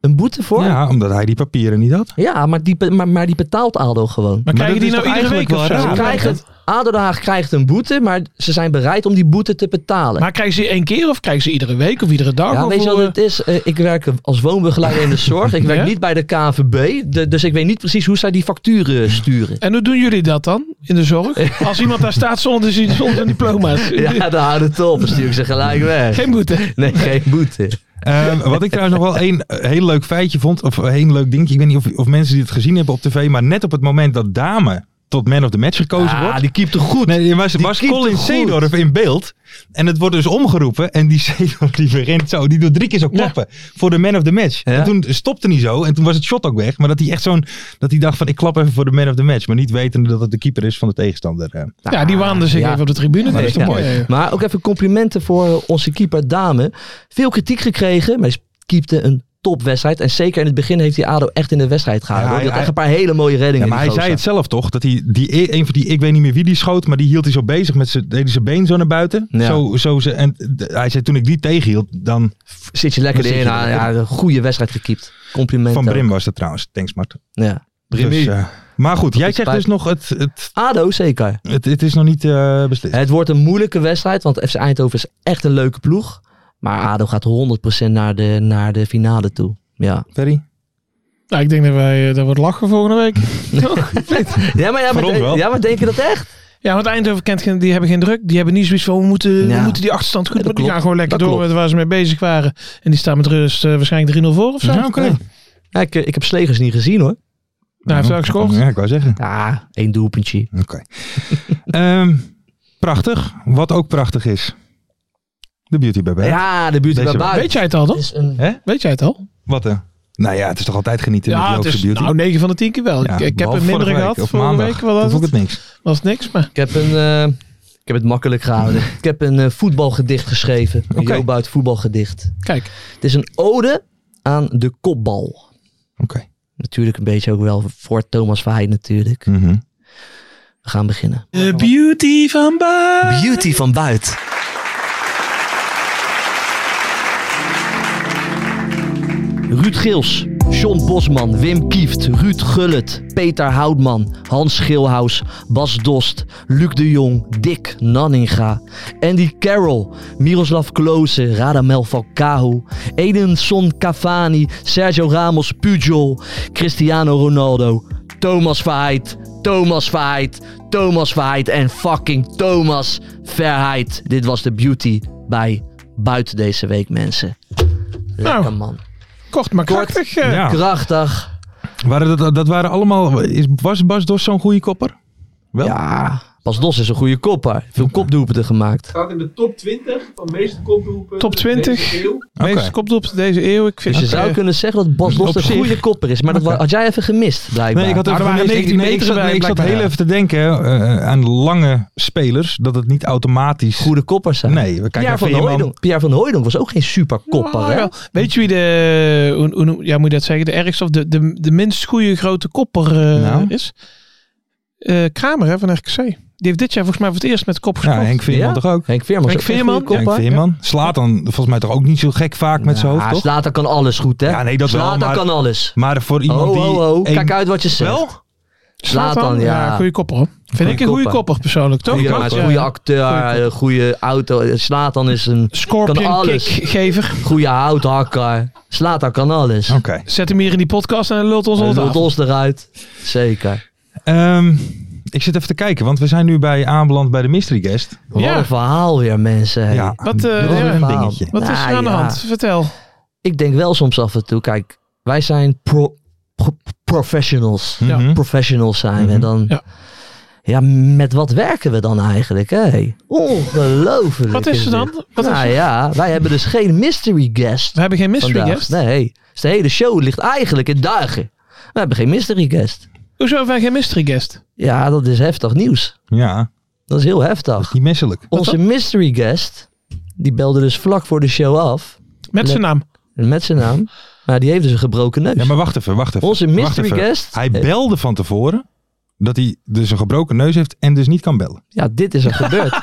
D: Een boete voor? Ja,
B: Ja, omdat hij die papieren niet had.
D: maar, die, be- maar, maar die betaalt Aldo gewoon.
C: Maar krijgen
B: dat
C: die
B: is
C: nou
B: toch
C: iedere
B: eigenlijk
C: week of
B: wel
C: zo?
B: raar?
D: Ze
B: Ja,
D: krijgen, ADO Den Haag krijgt een boete, maar ze zijn bereid om die boete te betalen.
C: Maar krijgen ze één keer of krijgen ze iedere week of iedere dag?
D: Ja,
C: of
D: weet je
C: hoe,
D: wat het is? Eh, ik werk als woonbegeleider in de zorg. Ik werk
C: Ja?
D: niet bij de KNVB. De- dus ik weet niet precies hoe zij die facturen sturen.
C: eh, En hoe doen jullie dat dan in de zorg? Als iemand daar staat zonder, zijn- zonder zijn diploma's.
B: Eh,
D: Ja, Nou, daar houden het op. Dan stuur ik ze gelijk weg.
C: Geen boete.
D: Nee, geen boete.
B: Ehm, wat ik trouwens nog wel een eh, heel leuk feitje vond, of een heel leuk dingetje. Ik weet niet of, of mensen die het gezien hebben op tv, maar net op het moment dat Dame tot man of the match gekozen wordt.
D: Ah, die keept er goed.
B: Nee, er was,
D: Die
B: was
D: keept
B: Colin
D: goed.
B: Seedorf in beeld. En het wordt dus omgeroepen. En die Seedorf die begint zo. Die doet drie keer zo klappen. Voor de man of the match.
D: Ja.
B: En toen stopte hij zo. En toen was het shot ook weg. Maar dat hij echt zo'n... Dat hij dacht van ik klap even voor de man of the match. Maar niet wetende dat het de keeper is van de tegenstander. eh.
C: Ja, die waanden zich
D: ja.
C: even op de tribune.
B: Maar dat is
C: denk ik.
B: toch mooi?
C: Ja, ja.
D: Maar ook even complimenten voor onze keeper Dame. Veel kritiek gekregen, maar ze keepte een topwedstrijd. En zeker in het begin heeft hij ADO echt in de wedstrijd gehouden.
B: Ja,
D: hoor. Die had
B: hij-
D: echt een paar hele mooie
B: Ja,
D: reddingen.
B: maar hij
D: die
B: zei het
D: gozer.
B: zelf toch? Dat hij die, e- een van die, ik weet niet meer wie die schoot, maar die hield hij zo bezig met zijn, deed hij zijn been zo naar buiten.
D: Ja.
B: Zo, zo ze, en d- hij zei toen ik die tegenhield, dan
D: Zit je lekker
B: Dan zit
D: erin.
B: je
D: Ja,
B: lekker
D: ja, een goede wedstrijd gekiept. Compliment.
B: van
D: ook.
B: Brim was dat trouwens. Thanks Mart.
D: Ja.
B: Dus, eh, maar goed, jij
D: Goed
B: zegt
D: spijt.
B: dus nog het, het,
D: ADO zeker.
B: het, het is nog niet eh, beslist.
D: Het wordt een moeilijke wedstrijd, want FC Eindhoven is echt een leuke ploeg. Maar ADO gaat 100% naar de, naar de finale toe. Ja.
B: Ferry?
C: Nou, ik denk dat wij, eh, dat wordt lachen volgende week.
D: Ja, maar, ja,
B: Voor
D: maar,
B: ons wel.
D: ja, maar denk je dat echt?
C: Ja, want Eindhoven kent geen, die hebben geen druk. Die hebben niet zoiets van, we moeten,
D: Ja.
C: we moeten die achterstand goed
D: Ja, dat
C: maar Die
D: klopt.
C: gaan gewoon lekker
D: Dat
C: door
D: klopt.
C: met waar ze mee bezig waren. En die staan met rust eh, waarschijnlijk 3-0 voor of zo.
B: Ja, oké.
C: Nou,
D: Ja, ik, ik heb Slegers niet gezien hoor.
C: hij heeft wel gescoord.
B: Ja, ik wou zeggen.
D: Ja, één doelpuntje.
B: Oké. Ehm, prachtig. Wat ook prachtig is. De Beauty Baby.
D: Ja, de buurt
B: Deze
D: bij
B: wel.
D: buiten.
C: Eh, Weet jij het al dan?
D: Is een...
C: Weet jij het al?
B: Wat hè? Nou ja, het is toch altijd genieten met
C: Ja, het
B: Joopse
C: is
B: Beauty?
C: nou 9 van de 10 keer wel.
B: Ja,
C: ik, ik heb
B: behalve
C: een minder
B: vorige
C: gehad
B: week, op
C: vorige
B: maandag.
C: week. Wat
B: Toen
C: was
B: vond ik het
C: het?
B: niks.
C: Was niks, maar...
D: Ik heb een... eh, ik heb het makkelijk gehouden. ik heb een eh, voetbalgedicht geschreven. Een
B: Oké.
D: Jo Buit voetbalgedicht.
C: Kijk,
D: Het is een ode aan de kopbal.
B: Oké.
D: Natuurlijk een beetje ook wel voor Thomas Verheid natuurlijk.
B: Mhm.
D: We gaan beginnen.
C: de beauty van Baar.
D: Beauty van buiten. Ruud Gils, John Bosman, Wim Kieft, Ruud Gullet, Peter Houtman, Hans Schilhaus, Bas Dost, Luc de Jong, Dick Nanninga, Andy Carroll, Miroslav Klose, Radamel Falcao, Edinson Cavani, Sergio Ramos, Pujol, Cristiano Ronaldo, Thomas Verheid, Thomas Verheid, Thomas Verheid en fucking Thomas Verheid. Dit was de beauty bij buiten deze week, mensen. Lekker
C: Nou.
D: man.
C: Kort maar
D: Kort.
C: krachtig. eh.
B: Ja.
D: Krachtig.
B: Waren dat, dat waren allemaal... Is, was Bas Dos zo'n goede kopper? Wel?
D: Ja. Pas Dos is een goede kopper. Veel kopdoelpunten gemaakt.
E: staat in de top 20 van meeste kopdoelpunten.
C: Top 20.
E: deze eeuw.
B: Oké.
C: Meeste kopdoelpunten deze eeuw. Ik vind
D: Dus je
C: het,
D: zou
C: eh,
D: kunnen zeggen dat Bas Dos
B: Op
D: een
B: zich.
D: goede kopper is. Maar dat wa- had jij even gemist, blijkbaar.
B: Nee, ik had
C: Nou,
B: even
C: er waren
B: gemist.
C: 19
B: Ik- nee, ik
C: meters
B: zat, nee,
C: bij,
B: ik zat
C: blijkbaar,
B: heel
C: ja.
B: even te denken eh, aan lange spelers. Dat het niet automatisch...
D: goede koppers zijn.
B: Nee, we kijken
D: Pierre
B: naar
D: van,
B: Veerman.
D: Hooijdonk. Pierre van Hooijdonk was ook geen superkopper.
C: Nou,
D: hè?
C: wel. Weet je wie de, hoe, hoe noem- ja, moet je dat zeggen, de ergste of de, de, de minst goede grote kopper eh,
B: Nou?
C: is? Eh, Kramer hè, van RKC. Die heeft dit jaar volgens mij voor het eerst met de kop
B: Ja,
C: gescoord.
B: Henk Veerman
D: Ja?
B: toch ook?
D: Henk Veerman. is
C: Henk
D: ook geen
C: Veerman.
D: goede kopper.
B: Henk Veerman. Slaat dan volgens mij toch ook niet zo gek vaak met zijn
D: Ja,
B: hoofd, toch?
D: Zlatan kan alles goed, hè?
B: Ja, nee, dat wel,
D: Zlatan
B: maar-
D: kan alles.
B: Maar voor
D: Oh,
B: iemand die...
D: oh, oh.
B: één-
D: Kijk uit wat je zegt.
B: Wel?
D: Zlatan, ja.
C: goede kopper. hoor. Vind ik een goede
D: kopper.
C: kopper persoonlijk, toch?
D: Goeie-
C: Ja,
D: hij is een
C: ja.
D: goede acteur,
C: Goeie
D: een goede auto. Zlatan is een kan
C: Scorpion
D: alles.
C: kickgever.
D: goede houthakker. Zlatan kan alles.
B: Oké.
C: Zet hem hier in die podcast en lult ons
D: Hij
C: onder.
D: lult ons eruit. Zeker.
B: Ehm, ik zit even te kijken, want we zijn nu bij aanbeland bij de mystery guest.
D: Wat
C: Ja.
D: een verhaal weer, mensen.
B: Ja,
C: Wat, eh,
B: dat is
C: ja.
B: een dingetje.
C: Wat is er
D: Nou,
C: aan de
D: ja.
C: hand? Vertel.
D: Ik denk wel soms af en toe, kijk, wij zijn pro- pro- professionals.
C: Ja.
B: Mhm.
D: Professionals zijn we.
B: Mhm.
D: Dan,
C: Ja.
D: ja. met wat werken we dan eigenlijk? Hé? Ongelooflijk.
C: Wat is er dan? Wat
D: nou
C: is er?
D: ja, wij hebben dus geen mystery guest.
C: We hebben geen mystery
D: vandaag.
C: guest.
D: Nee, dus de hele show ligt eigenlijk in duigen. We hebben geen mystery guest.
C: Hoezo hebben wij geen mystery guest?
D: Ja, dat is heftig nieuws.
B: Ja,
D: Dat is heel
B: dat is
D: heftig.
B: niet misselijk.
D: Onze mystery guest, die belde dus vlak voor de show af.
C: Met zijn naam.
D: Met zijn naam. Maar die heeft dus een gebroken neus.
B: Ja, maar wacht even, wacht even.
D: Onze
B: wacht
D: mystery
B: even.
D: guest.
B: Hij
D: Eh,
B: belde van tevoren dat hij dus een gebroken neus heeft en dus niet kan bellen.
D: Ja, dit is er gebeurd.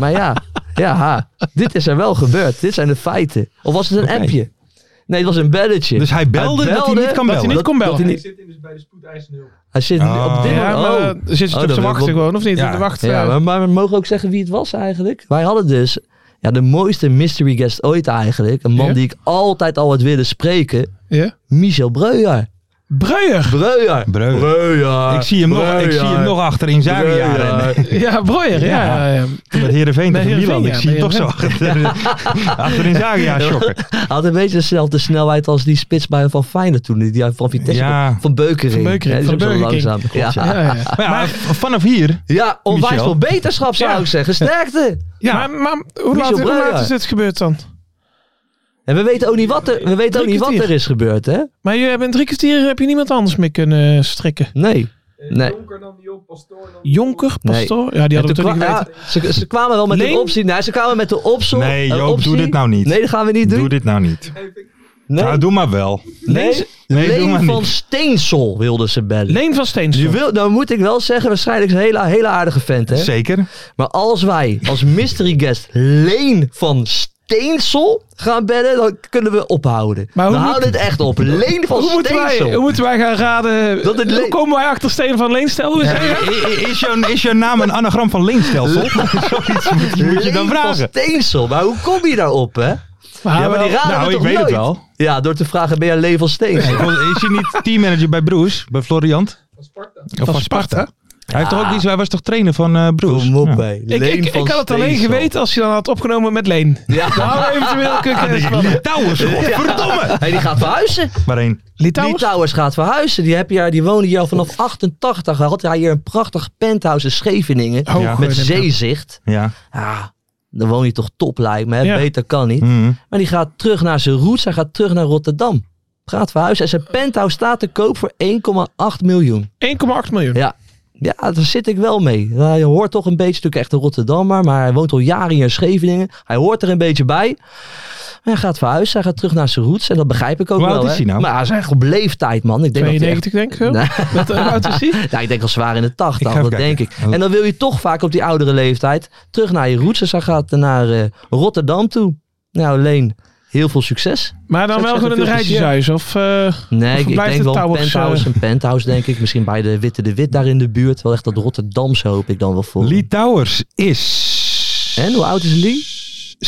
D: maar ja, ja, ha, dit is er wel gebeurd. Dit zijn de feiten. Of was het een
B: Oké.
D: appje? Nee, het was een belletje.
B: Dus hij belde, dat hij
D: belde
B: niet kan
C: dat hij
B: bellen.
C: niet kon bellen.
D: dat hij
E: Hij zit
D: niet-
E: in dus bij de spoedeisende hulp.
D: Hij zit
B: Ah.
D: op dit
C: Ja,
D: moment.
C: maar
D: oh.
C: eh, zit je
D: Oh,
C: toch
D: dat
C: te
D: wil ik
C: wachten
D: wel-
C: gewoon, of niet?
B: Ja.
C: Te wachten,
D: Ja,
C: eh,
D: maar, maar we mogen ook zeggen wie het was eigenlijk. Wij hadden dus ja, de mooiste mystery guest ooit eigenlijk. Een man
C: Ja.
D: die ik altijd al had willen spreken.
C: ja.
D: Michel Breuer.
C: Breuer.
D: Breuer.
B: Breuer.
D: Breuer.
B: Ik zie hem nog, ik zie hem nog achter in zijn
D: Breuer.
B: jaren.
C: Ja, Breuer, ja.
B: Ja.
C: ja, ja.
B: Met Heerenveen
C: Bij
B: tegen Milan.
C: Heerenveen,
B: Ik zie hem
C: ja, bij
B: toch zo achter, achter in zijn jaren shocken.
D: Hij had een beetje dezelfde snelheid als die spits bij Van Feyenoord toen. Die hij van Vitesse
B: Ja.
D: Van Beukering.
C: Van Beukering,
D: Ja, die is
C: van
D: ook zo
C: Beukering.
D: langzaam. Ja.
C: Ja, ja, ja.
B: Maar ja, v- vanaf hier,
D: Ja, onwijs
B: Michel.
D: veel beterschap zou
C: Ja.
D: ik zeggen. Sterkte.
C: Ja. Maar, maar hoe,
D: Michel
C: laat, hoe
D: Breuer.
C: laat is dit gebeurd dan?
D: En we weten ook niet wat er, we weten
C: Drie
D: ook niet wat
C: kwartier.
D: er is gebeurd, hè?
C: Maar je hebt in drie kwartier heb je niemand anders mee kunnen strikken.
D: Nee.
E: Eh,
D: Nee.
E: Jonker nam die op, Pastoor nam die op.
C: Jonker,
D: Nee.
C: Pastoor. Ja, die
D: En
C: hadden we toen
D: toen
C: niet
D: kwa-
C: geweten.
D: ja, ze, ze kwamen wel met
C: Leen?
D: een optie. Nee, ze kwamen met de optie.
B: Nee,
D: een
B: Joop, doe
D: optie.
B: dit nou niet.
D: Nee, dat gaan we niet doen.
B: doe dit nou niet.
E: Geef ik.
D: Nee,
B: Nou, doe maar wel.
D: nee,
B: nee, doe
D: Leen
B: maar
D: van
B: niet.
D: Steensel wilde ze bellen.
C: Leen van Steensel.
D: Je wil, nou moet ik wel zeggen, waarschijnlijk is een hele, hele aardige vent. Hè?
B: Zeker.
D: Maar als wij als mystery guest Leen van Steensel gaan bellen, dan kunnen we ophouden.
C: Maar hoe
D: we
C: moet-
D: houden het echt op. Leen van
C: hoe, moeten wij,
D: Steensel.
C: hoe moeten wij gaan raden?
D: Dat het
C: hoe
D: Leen-
C: komen wij achter Steen van Leenstel? Hoe is hij?
B: Is jouw, is jouw naam een anagram van leenstelsel? Zoiets moet, je- moet je dan
D: Leen van
B: vragen.
D: Steensel. Maar hoe kom je daarop, hè?
C: Maar
D: Ja, maar
C: Nou, wel-
D: die raden
B: Nou,
D: we
B: ik
D: toch
B: weet het
D: nooit?
B: wel.
D: Ja, door te vragen, ben jij Leen van Steensel?
B: Ik wil- Is je niet teammanager bij Broes? Bij Floriant?
E: Van Sparta.
B: Of van Sparta? Hij, heeft toch ook iets, hij was toch trainer van eh Broes?
D: Kom op,
B: Ja.
D: hè.
C: ik,
D: Leen
C: ik, ik
D: van
C: had het alleen
D: Steensel.
C: geweten als je dan had opgenomen met Leen.
D: Ja.
C: Nou, eventueel kun je eens wat-
B: Litouwers, godverdomme!
D: Hey, die gaat verhuizen.
B: Waarheen?
D: Die
C: Litouwers?
D: Towers gaat verhuizen. Die, heb je, die woonde hier al vanaf 88. Hij had hij hier een prachtig penthouse in Scheveningen.
C: Oh,
B: Ja.
C: gooi
D: met
C: hem
D: zeezicht.
B: Ja.
D: Ah, dan woon je toch top lijkt me. hè?
C: Ja.
D: Beter kan niet.
B: Mhm.
D: Maar die gaat terug naar zijn roots. Hij gaat terug naar Rotterdam. Gaat verhuizen. En zijn penthouse staat te koop voor 1,8 miljoen.
C: nou. 1,8 miljoen.
D: Ja. Ja, daar zit ik wel mee. Hij hoort toch een beetje, natuurlijk echt een Rotterdammer. Maar hij woont al jaren hier in Scheveningen. Hij hoort er een beetje bij. Hij gaat verhuizen. Hij gaat terug naar zijn roots. En dat begrijp ik ook
B: Hoe
D: wel.
B: oud is
D: hè.
B: hij nou?
D: Maar hij is echt op leeftijd, man. Ik denk dat hij echt
C: 92 denk ik zo. eh,
D: Nee.
C: Wat hoe oud is die?
D: ja, ik denk al zwaar in de
B: Ik ga
D: tachtig,
B: even
D: dat
B: kijken.
D: denk ik. En dan wil je toch vaak op die oudere leeftijd terug naar je roots. Dus hij gaat naar eh, Rotterdam toe. Nou, Leen, heel veel succes.
C: Maar dan
D: Zou ik
C: wel gewoon
D: zeggen,
C: in een
D: veel
C: rijtjeshuis. Of, eh,
D: Nee, ik, ik
C: blijft
D: denk
C: het
D: wel een
C: Towers,
D: penthouse,
C: eh?
D: een penthouse denk ik. Misschien bij de Witte de Wit daar in de buurt. Wel echt dat Rotterdamse hoop ik dan wel voor.
B: Litouwers is...
D: En hoe oud is Lee?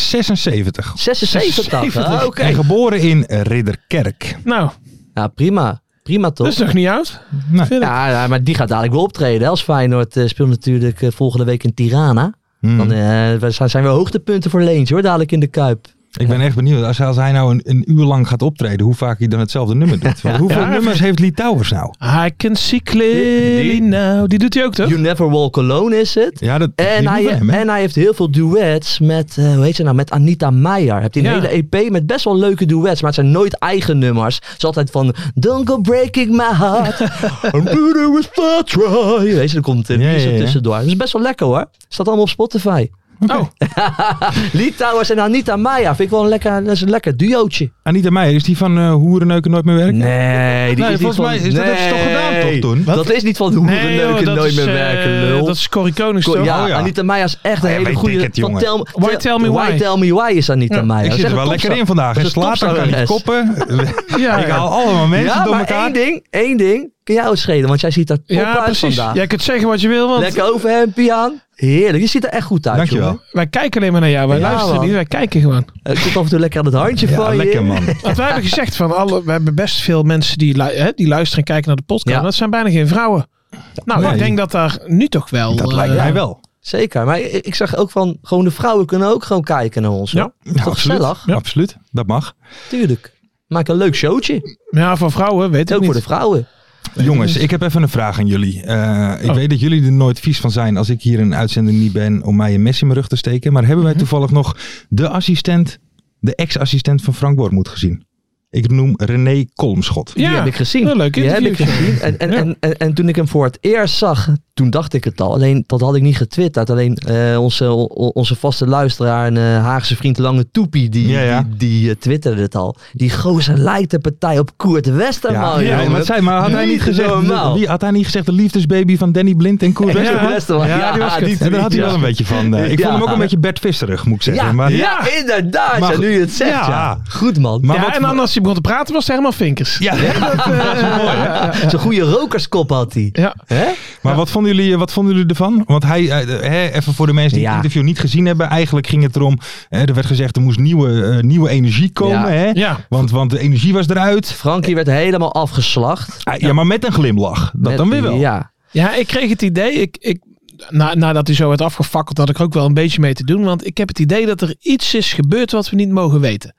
B: 76.
D: 76. Ah, Oké.
B: En geboren in Ridderkerk.
C: nou,
D: Ja, prima. Prima toch?
C: dat is nog niet oud.
B: Nee.
C: Vind ik.
D: ja, ja, maar die gaat dadelijk wel optreden. hè. Als Feyenoord eh, speelt natuurlijk eh, volgende week in Tirana.
B: Hmm.
D: Dan eh, we- zijn weer hoogtepunten voor Leentje hoor, dadelijk in de Kuip.
B: Ik ben echt benieuwd. Als, als hij nou een, een uur lang gaat optreden, hoe vaak hij dan hetzelfde nummer doet. Want hoeveel
C: Ja.
B: nummers heeft Litouwers nou?
C: I can see clearly now. Die doet hij ook toch?
D: You Never Walk Alone is het.
B: Ja, dat
D: En
B: die
D: hij,
B: moeten we hem, hè?
D: en hij heeft heel veel duets met, eh, hoe heet ze nou, met Anita Meijer. Heeft hij een
C: Ja.
D: hele EP met best wel leuke duets, maar het zijn nooit eigen nummers. Het is altijd van, don't go breaking my heart, I'm bitter with far try. Weet je, er komt een
B: Ja,
D: ja,
B: ja, ja.
D: tussendoor. Dat is best wel lekker hoor. Staat allemaal op Spotify.
C: Oh,
D: Lee Towers en Anita Meijer vind ik wel een lekker, dat is een lekker duootje.
B: Anita Meijer, is die van eh Hoerenneuken Nooit Meer Werken?
D: Nee, die
B: Nee,
D: is niet
B: volgens
D: van,
B: mij is dat- dat is toch gedaan toch toen?
D: Dat is niet van hoe we
C: nee, joh,
D: neuken
C: dat
D: nooit
C: is,
D: meer
C: eh,
D: werken, lul.
C: Dat is Corrie Konings
D: Ko-
C: toch?
D: ja,
B: Oh ja.
D: Anita Meijer is echt een
B: Ah, ja,
D: hele
B: weet
D: goede...
B: ik het,
D: van
B: jongen.
D: Tell,
C: Why Tell Me Why.
D: Tell Me Why is Anita Meijer.
B: Ik zit
D: Dat is
B: er
D: echt
B: wel
D: een
B: lekker
D: topstar.
B: in vandaag.
D: Dat
B: En
D: is een
B: Slater kan niet
D: topzangeres.
B: koppen.
C: Ja,
B: Ik
C: ja.
B: haal allemaal mensen
D: Ja,
B: door
D: maar
B: elkaar.
D: één ding, één ding. Kun jou het schelen, want jij ziet er top
C: Ja,
D: uit
C: precies.
D: vandaag.
C: Jij kunt zeggen wat je wil, want
D: Lekker overhempje aan. Heerlijk, je ziet er echt goed uit,
B: Dankjewel.
D: jongen.
C: wij kijken alleen maar naar jou. Wij
D: Ja,
C: luisteren
D: man.
C: niet, wij kijken gewoon.
D: Het komt af en toe lekker aan het handje
B: Ja,
D: van je.
B: lekker man.
C: Want wij hebben gezegd van alle, we hebben best veel mensen die, lu- hè, die luisteren en kijken naar de podcast.
D: Ja.
C: maar Dat zijn bijna geen vrouwen. Nou,
B: Nee.
C: ik denk dat daar nu toch wel.
B: Dat
C: eh,
B: lijkt mij wel.
D: Zeker, maar ik, ik zag ook van, gewoon de vrouwen kunnen ook gewoon kijken naar ons. hoor.
C: Ja.
B: Ja,
D: Toch
B: absoluut.
D: gezellig?
B: Ja, Absoluut, dat mag.
D: Tuurlijk. Maak een leuk showtje.
C: Ja, voor vrouwen weet ik
D: Ook
C: niet.
D: voor de vrouwen.
B: Jongens, ik heb even een vraag aan jullie. Eh, ik
C: Oh.
B: weet dat jullie er nooit vies van zijn als ik hier in een uitzending niet ben om mij een mes in mijn rug te steken. Maar
D: Mhm.
B: hebben wij toevallig nog de assistent, de ex-assistent van Frank Bormoed gezien? Ik noem René Kolmschot.
C: Ja,
D: Die heb ik gezien.
C: Een leuk
D: Die heb ik
C: interview.
D: gezien. En, en,
C: Ja.
D: en, en, en toen ik hem voor het eerst zag, toen dacht ik het al. Alleen dat had ik niet getwitterd. Alleen eh, onze, o- onze vaste luisteraar en eh, Haagse vriend Lange Toepie, die,
B: Ja, ja.
D: die, die, eh, twitterde het al. Die gozer lijkt de partij op Koert Westerman.
B: ja,
D: jongen.
B: maar, zei, maar had, hij
D: Niet
B: niet gezegd,
D: normaal.
B: wie, had hij niet gezegd de liefdesbaby van Danny Blind en Koert
D: Koert
B: Westerman?
D: Westerman.
C: Ja, die was kut.
D: die
B: En daar had hij
D: tweet,
B: wel een beetje van. eh, ik
D: Ja.
B: vond hem ook een beetje Bert Visserig, moet ik zeggen.
D: Ja,
B: maar,
D: ja, inderdaad.
B: Maar
D: ja, nu je het zegt.
B: ja.
D: Ja. Goed man.
B: Maar
C: ja,
B: wat-
C: en dan als hij begon te praten was het helemaal vinkers.
B: Ja,
D: Zo'n goede rokerskop had hij.
C: Ja.
D: Hè?
B: Maar wat, vonden jullie, eh, wat vonden jullie ervan? Want hij, eh, hè, even voor de mensen die
D: Ja.
B: het interview niet gezien hebben. Eigenlijk ging het erom, hè, er werd gezegd er moest nieuwe, eh, nieuwe energie komen.
D: Ja.
B: Hè?
C: Ja.
B: Want, want de energie was eruit.
D: Frankie werd helemaal afgeslacht.
B: Ah, ja. maar met een glimlach. Dat
D: Met-
B: dan weer wel.
D: Ja.
C: Ja, ik kreeg het idee, ik, ik, na, nadat hij zo werd afgefakkeld, had ik er ook wel een beetje mee te doen. Want ik heb het idee dat er iets is gebeurd wat we niet mogen weten.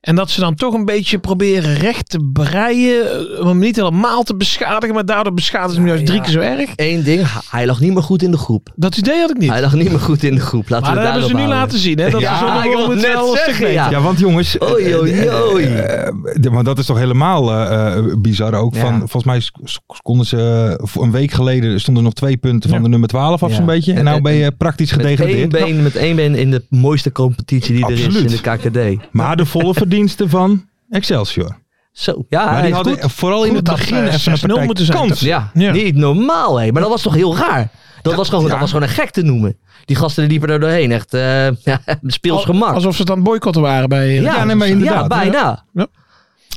C: En dat ze dan toch een beetje proberen recht te breien. eh, Om hem niet helemaal te beschadigen, maar daardoor beschadigen ze hem juist drie
D: ja.
C: keer zo erg.
D: Eén ding, hij lag niet meer goed in de groep.
C: Dat idee had ik niet.
D: Hij lag niet meer goed in de groep. Laten
C: maar
D: we
C: dat
D: het
C: hebben ze nu
D: daarop
C: laten
D: houden.
C: zien. Hè? Dat
D: Ja,
C: is
D: ik wou het net zeggen, ja.
B: Ja, want jongens, eh,
D: Oei, oei,
B: eh,
D: oei.
B: eh, eh, de- maar dat is toch helemaal eh, eh, bizar ook.
D: Ja.
B: Van, volgens mij sk- sk- konden ze eh, voor een week geleden stonden nog twee punten van
C: Ja.
B: de nummer 12 af
D: Ja.
B: zo'n beetje. En
D: En-
B: nou
D: en-
B: ben je praktisch
D: Met één,
B: gedegradeerd.
D: been, met één been in de mooiste competitie die er
B: Absoluut.
D: is in de KKD.
B: Maar de volle verdiensten van Excelsior.
D: Zo, Ah, ja,
B: Maar
D: hij
B: die
D: is
B: hadden
D: goed.
B: vooral in
C: Goed
B: het
C: dat,
B: begin
C: eh,
B: even
C: 6-0
B: een partij
C: moeten zijn,
B: kansen.
C: toch?
D: Ja,
C: Ja.
D: niet normaal hé. Maar dat was toch heel raar. Dat, was gewoon,
B: ja.
D: dat was gewoon een gek te noemen. Die gasten liepen er doorheen. Echt eh, ja, speels gemak.
C: Alsof ze dan boycotten waren bij... eh,
B: Ja, nee, maar inderdaad.
D: Ja, bijna.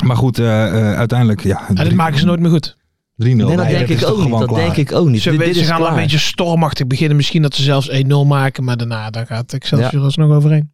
B: Maar goed, eh, eh, uiteindelijk ja,
C: En dat maken ze nooit meer goed.
B: 3-0. Nee,
D: Nee, dat
B: dat
D: denk
B: is
D: ik
B: toch
D: ook niet.
B: gewoon
D: Dat
B: klaar.
D: denk ik ook niet.
C: Ze,
D: Dit-
C: weet-
D: dit
C: ze
D: is
C: gaan wel een
D: klaar.
C: beetje stormachtig beginnen. Misschien dat ze zelfs 1-0 maken. Maar daarna dan gaat Excelsior alsnog overheen.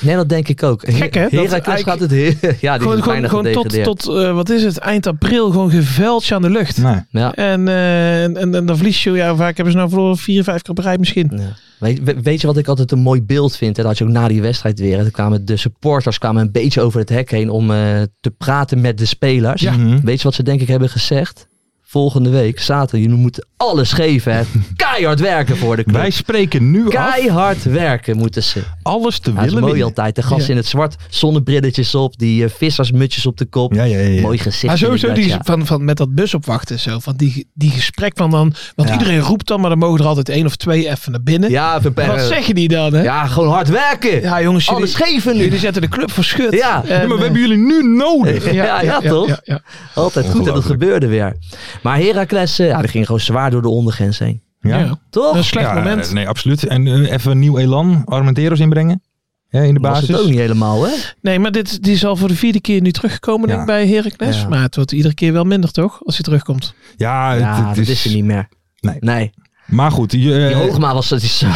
D: Nee, dat denk ik ook.
C: Gek, hè? Dat
D: Heracles
C: eigenlijk-
D: gaat het heel... Ja, die
C: Gewoon, gewoon,
D: is bijna
C: gewoon tot,
D: gedegradeerd.
C: tot eh, wat is het, eind april gewoon geveldje aan de lucht.
B: Nee.
D: Ja.
C: En, eh, en, en, en dan verlies je, ja, hoe vaak hebben ze nou verloren? Vier, vijf keer op rij misschien.
D: Ja. Weet, we- weet je wat ik altijd een mooi beeld vind? En dat had je ook na die wedstrijd weer. En kwamen de supporters kwamen een beetje over het hek heen om eh, te praten met de spelers.
B: Ja. Mhm.
D: Weet je wat ze denk ik hebben gezegd? Volgende week, zaterdag, jullie moeten alles geven. Hè. Keihard werken voor de club.
B: Wij spreken nu af
D: Keihard werken moeten ze.
B: alles te
D: Ja, dat is
B: willen
D: mooi
B: winnen.
D: altijd. De gasten
C: Ja.
D: in het zwart, zonnebrilletjes op, die eh, vissersmutjes op de kop.
B: Ja, ja, ja, ja.
D: Mooi gezicht.
C: Maar sowieso
D: inderdaad,
C: Ah, die,
D: ja.
C: van, van met dat bus opwachten zo. Van die, die gesprek van dan. Want iedereen roept dan, maar dan mogen er altijd één of twee even naar binnen.
D: Ja, even per-
C: Wat zeggen die dan, hè? Ja,
D: ja, gewoon hard werken.
C: jongens, dus jullie,
D: alles geven nu.
C: jullie zetten de club voor schut.
D: Ja.
C: En,
B: Ja, maar we
C: eh,
B: hebben jullie nu nodig.
D: Ja, ja, toch?
C: ja, ja.
D: Altijd goed en dat
B: Ongelooflijk.
D: gebeurde weer. Maar Heracles, eh, ja, die ging gewoon zwaar door de ondergrens heen.
C: Ja.
B: Ja.
C: Dat is een
D: Toch?
C: slecht
B: Ja,
C: moment.
B: Nee, absoluut. En eh, even een nieuw elan. Armenteros inbrengen. Hè, in de
D: Was
B: basis.
D: het ook niet helemaal, hè?
C: Nee, maar dit, die is al voor de vierde keer nu teruggekomen denk ik,
B: Ja.
C: bij Heracles.
D: Ja.
C: Maar het wordt iedere keer wel minder, toch? Als hij terugkomt.
B: Ja, het-
D: Ja,
B: het
D: dat is er niet meer.
B: Nee.
D: nee.
B: Maar goed. je, eh,
D: Die Hoogma was... Die,
B: ja,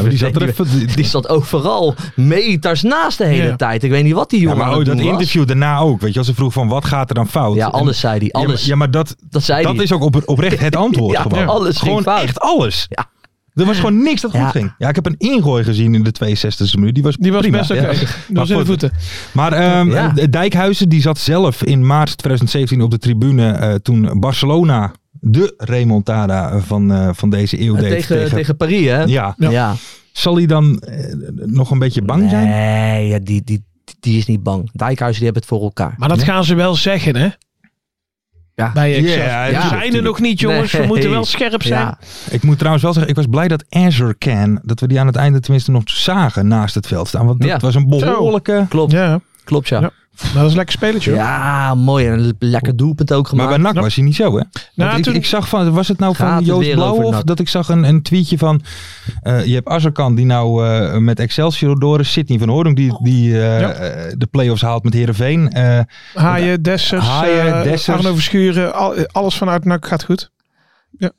B: maar die zat er even... Die,
D: die zat overal meters naast de hele
C: Ja.
D: tijd. Ik weet niet wat die
B: ja,
D: jongen aan
B: maar oh,
D: het
B: dat
D: doen was.
B: interview daarna ook. Weet je, als ze vroeg van wat gaat er dan fout?
D: Ja,
B: En-
D: alles zei hij.
B: Ja, maar-
D: Alles.
B: Ja, maar dat,
D: dat zei
B: dat
D: hij.
B: is ook op, oprecht het antwoord
D: Ja,
B: gewoon.
D: ja, alles ging
B: gewoon
D: fout.
B: echt alles.
D: Ja.
B: Er was gewoon niks dat goed
D: Ja.
B: ging. Ja, ik heb een ingooi gezien in de 62e minuut. Die was,
C: Die was
B: prima.
C: best oké.
B: Ja.
C: Door zijn
B: goed.
C: voeten.
B: Maar ehm,
D: Ja.
B: eh, Dijkhuizen die zat zelf in maart 2017 op de tribune eh, toen Barcelona de remontada eh, van, eh, van deze eeuw deed.
D: tegen, tegen, Paris, hè?
B: Ja.
C: Ja.
D: ja.
B: Zal hij dan eh, nog een beetje bang zijn?
D: Nee, ja, die, die, die is niet bang. Dijkhuizen die hebben het voor elkaar.
C: Maar dat
B: Ja.
C: gaan ze wel zeggen, hè?
D: Ja.
C: Bij Excelsior.
B: Ja,
C: We
B: tuurlijk,
C: zijn er
B: tuurlijk.
C: nog niet, jongens. We
D: Nee.
C: moeten wel scherp zijn.
D: Ja.
B: Ik moet trouwens wel zeggen, ik was blij dat Azure Can, dat we die aan het einde tenminste nog zagen naast het veld staan. Want dat
D: Ja.
B: was een behoorlijke...
D: Klopt,
C: Ja,
D: klopt ja.
C: Ja.
D: Ja,
C: dat was een lekker spelletje. hoor.
D: mooi. En een lekker doelpunt ook
B: Oh. Maar
D: gemaakt.
B: bij NAC
C: Nou,
B: was hij niet zo, hè? Want
C: Nou,
B: ik,
C: toen-
B: ik zag van, was het nou
D: Gaat
B: van
D: het
B: Joost
D: weer over
B: Blauwhof
D: NAC?
B: dat ik zag een, een tweetje van, eh, je hebt Azarkan die nou eh, met Excelsior door is, Sidney van Hoorn die, die eh,
C: Ja.
B: eh, de play-offs haalt met Heerenveen. Eh
C: Haaien, Dessers,
B: Haaien,
C: eh,
B: Dessers.
C: Arno Verschuren, al- eh, alles vanuit NAC gaat goed. Ja.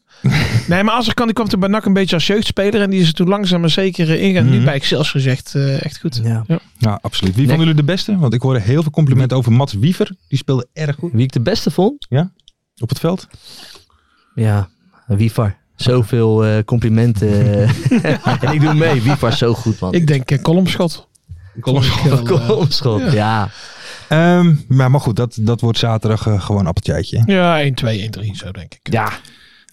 C: nee, maar als er kan, die kwam er bij NAC een beetje als jeugdspeler. En die is er toen langzaam maar zeker eh, ingegaan.
B: Mhm.
C: Nu bij Excelsior gezegd echt, eh, echt goed.
D: Ja.
B: nou, absoluut. Wie
D: Nee.
B: van jullie de beste? Want ik hoorde heel veel complimenten over Mats Wiever. Die speelde erg goed
D: Wie ik de beste vond?
B: op het veld.
D: Ja, Wifar. Zoveel eh, complimenten. eh, en ik doe mee. Wifar is zo goed, man.
C: Ik denk eh, kolomschot. eh, Kolomschot.
D: Kolomschot, ja. ja.
B: Ehm, maar, maar goed, dat, dat wordt zaterdag eh, gewoon appeltjeitje. hè?
C: Ja, 1, 2, 1, 3, zo denk ik.
D: Ja,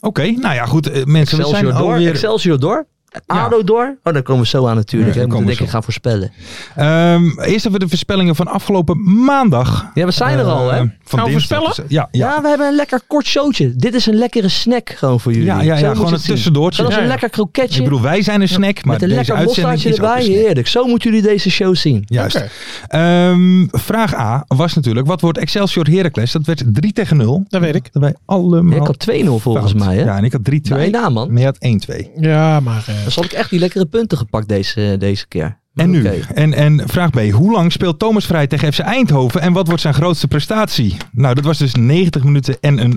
B: Oké, nou ja, goed. eh, mensen, we zijn
D: Excelsior door.
B: alweer...
D: Excelsior door. ADO door. Oh, daar komen we zo aan natuurlijk.
B: Ja,
D: hè.
B: daar
D: We
B: komen we
D: moeten denk ik
B: zo.
D: gaan voorspellen.
B: Ehm, eerst even de voorspellingen van afgelopen maandag.
D: Ja, we zijn er
B: Eh,
D: al, hè?
B: Van
C: Gaan we
B: dinsdag.
C: voorspellen?
B: Ja, ja.
D: Ja, we hebben een lekker kort showtje. Dit is een lekkere snack gewoon voor jullie.
B: Ja, ja, ja,
D: Zo moet
B: gewoon
D: je
B: een
D: het zien.
B: tussendoortje.
D: Dat is
B: Ja,
D: een
B: ja.
D: lekker kroketje.
B: Ik bedoel, wij zijn een snack, maar
D: met een
B: deze
D: lekker
B: uitzending
D: mosterdje
B: is ook
D: erbij.
B: een snack.
D: Heerlijk. Zo moeten jullie deze show zien.
B: Juist.
C: Oké.
B: Ehm, vraag A was natuurlijk, wat wordt Excelsior Heracles? Dat werd 3 tegen 0.
C: Dat weet ik.
B: Dat wij allemaal
D: Ja, ik had 2-0 volgens
B: fout.
D: mij, hè? Nou,
B: Ja, en ik had 3-2.
D: Bijna, man.
B: Maar je had 1-2.
C: Ja, maar eh,
D: Dan had ik echt die lekkere punten gepakt deze, eh, deze keer. Maar
B: En nu,
D: oké.
B: en, en vraag B. Hoe lang speelt Thomas Vrij tegen FC Eindhoven en wat wordt zijn grootste prestatie? Nou, dat was dus 90 minuten en een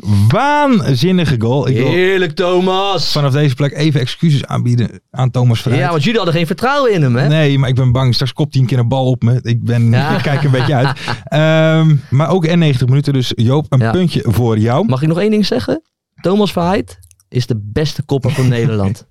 B: waanzinnige goal. Ik wil
D: Heerlijk, Thomas.
B: vanaf deze plek even excuses aanbieden aan Thomas Vrij.
D: Ja, want jullie hadden geen vertrouwen in hem, hè?
B: Nee, maar ik ben bang. Straks kopt hij een keer een bal op me. Ik, ben,
D: Ja.
B: ik kijk een beetje uit. Ehm, maar ook en 90 minuten. Dus Joop, een
D: Ja.
B: puntje voor jou.
D: Mag ik nog één ding zeggen? Thomas Verheid is de beste kopper van Nederland.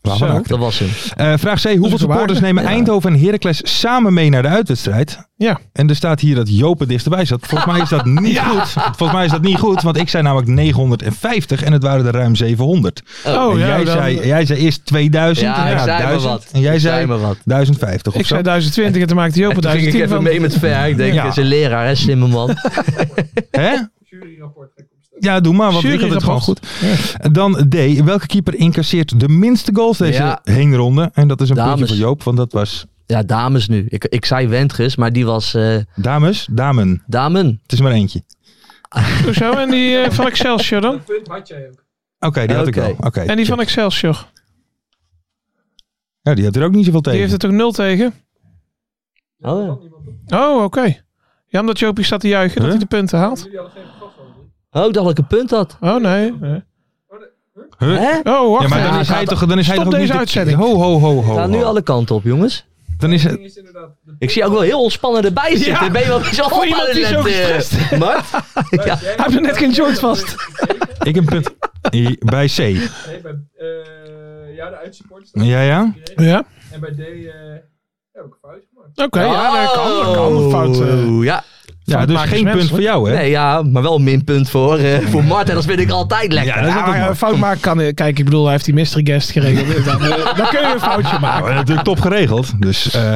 B: Waar
C: Zo.
B: van ook.
D: Dat was hem.
B: Eh, vraag C. Hoeveel
C: een
B: supporters
C: waarde.
B: nemen
D: Ja.
B: Eindhoven en Heracles samen mee naar de uitwedstrijd?
C: ja.
B: En er staat hier dat Joop er dichterbij zat. Volgens mij is dat niet goed. Volgens mij is dat niet goed. Want ik zei namelijk 950 en het waren er ruim 700.
D: Oh,
C: Oh,
B: en
C: ja,
B: jij,
C: dan-
B: zei, jij zei eerst 2000.
D: Ja, ik
B: daarna
D: zei maar
B: 1000,
D: wat.
B: En jij
D: Ik
B: zei,
D: zei maar wat.
B: 1050 of
C: ik
B: zo.
C: zei 1020 en toen maakte hij
D: En
C: open
D: toen ging ik
C: 1010
D: even
C: van.
D: mee met Ver. Ik denk,
B: Ja.
D: dat is een leraar, hè, slimme man.
B: Hè? Ja, doe maar, want ik had het gewoon
C: Juryrapport.
B: goed. Dan D. Welke keeper incasseert de minste goals deze
D: Ja.
B: heenronde? En dat is een
D: Dames.
B: puntje voor Joop, want dat was
D: Ja, dames nu. Ik, ik zei Wendges, maar die was eh
B: Dames, damen.
D: damen.
B: Het is maar eentje.
C: Hoezo? En die eh, van Excelsior dan?
E: Dat punt had jij ook.
B: Oké, die had
D: Oké.
B: ik wel. Oké.
C: En die van Excelsior.
B: Ja, die had er ook niet zoveel tegen.
C: Die heeft er toch nul tegen?
D: Oh, ja.
C: Oh, oké. Ja, omdat Jopie staat te juichen dat
B: Huh?
C: hij de punten haalt.
E: Jullie hadden geen verslag van.
D: oh, ik dacht dat ik een punt had.
C: Oh, nee. nee.
B: Huh?
D: Hè?
C: Oh, wacht
B: Ja, maar dan
C: even.
B: is hij toch, dan is hij
C: Stop
B: toch ook niet
C: deze
B: de-
C: uitzending.
B: Ho, ho, ho, ho.
D: We gaan nu
B: ho.
D: alle kanten op, jongens.
B: Dan is het...
E: is inderdaad... De
D: Ik zie ook wel heel ontspannen erbij zitten. Ben je wel een beetje
C: Voor iemand die zo gestrest
D: is. Mart? ja.
E: Jij
C: Hij heeft net geen joint vast.
B: Ik een punt. I- Bij C.
E: Nee, bij eh ja, de uitsupport staat
B: Ja, ja.
C: Ja,
E: En bij D eh heb ik een fout gemaakt.
C: oké. ja, dat kan. Dat kan. Fout, eh.
D: Oh. ja.
B: Oh. Ja,
C: Fout
B: dus
C: maken is
B: geen punt voor
C: menselijk.
B: jou, hè?
D: Nee, ja, maar wel een minpunt voor, eh voor Mart. En dat vind ik altijd lekker.
B: Ja, dat is ook
C: Ja, maar,
B: nog-
C: eh, fout maken kan. eh, Kijk, ik bedoel, hij heeft die mystery guest geregeld. dan, eh, dan kun je een foutje
B: Nou,
C: maken.
B: we hebben natuurlijk top geregeld. Dus eh,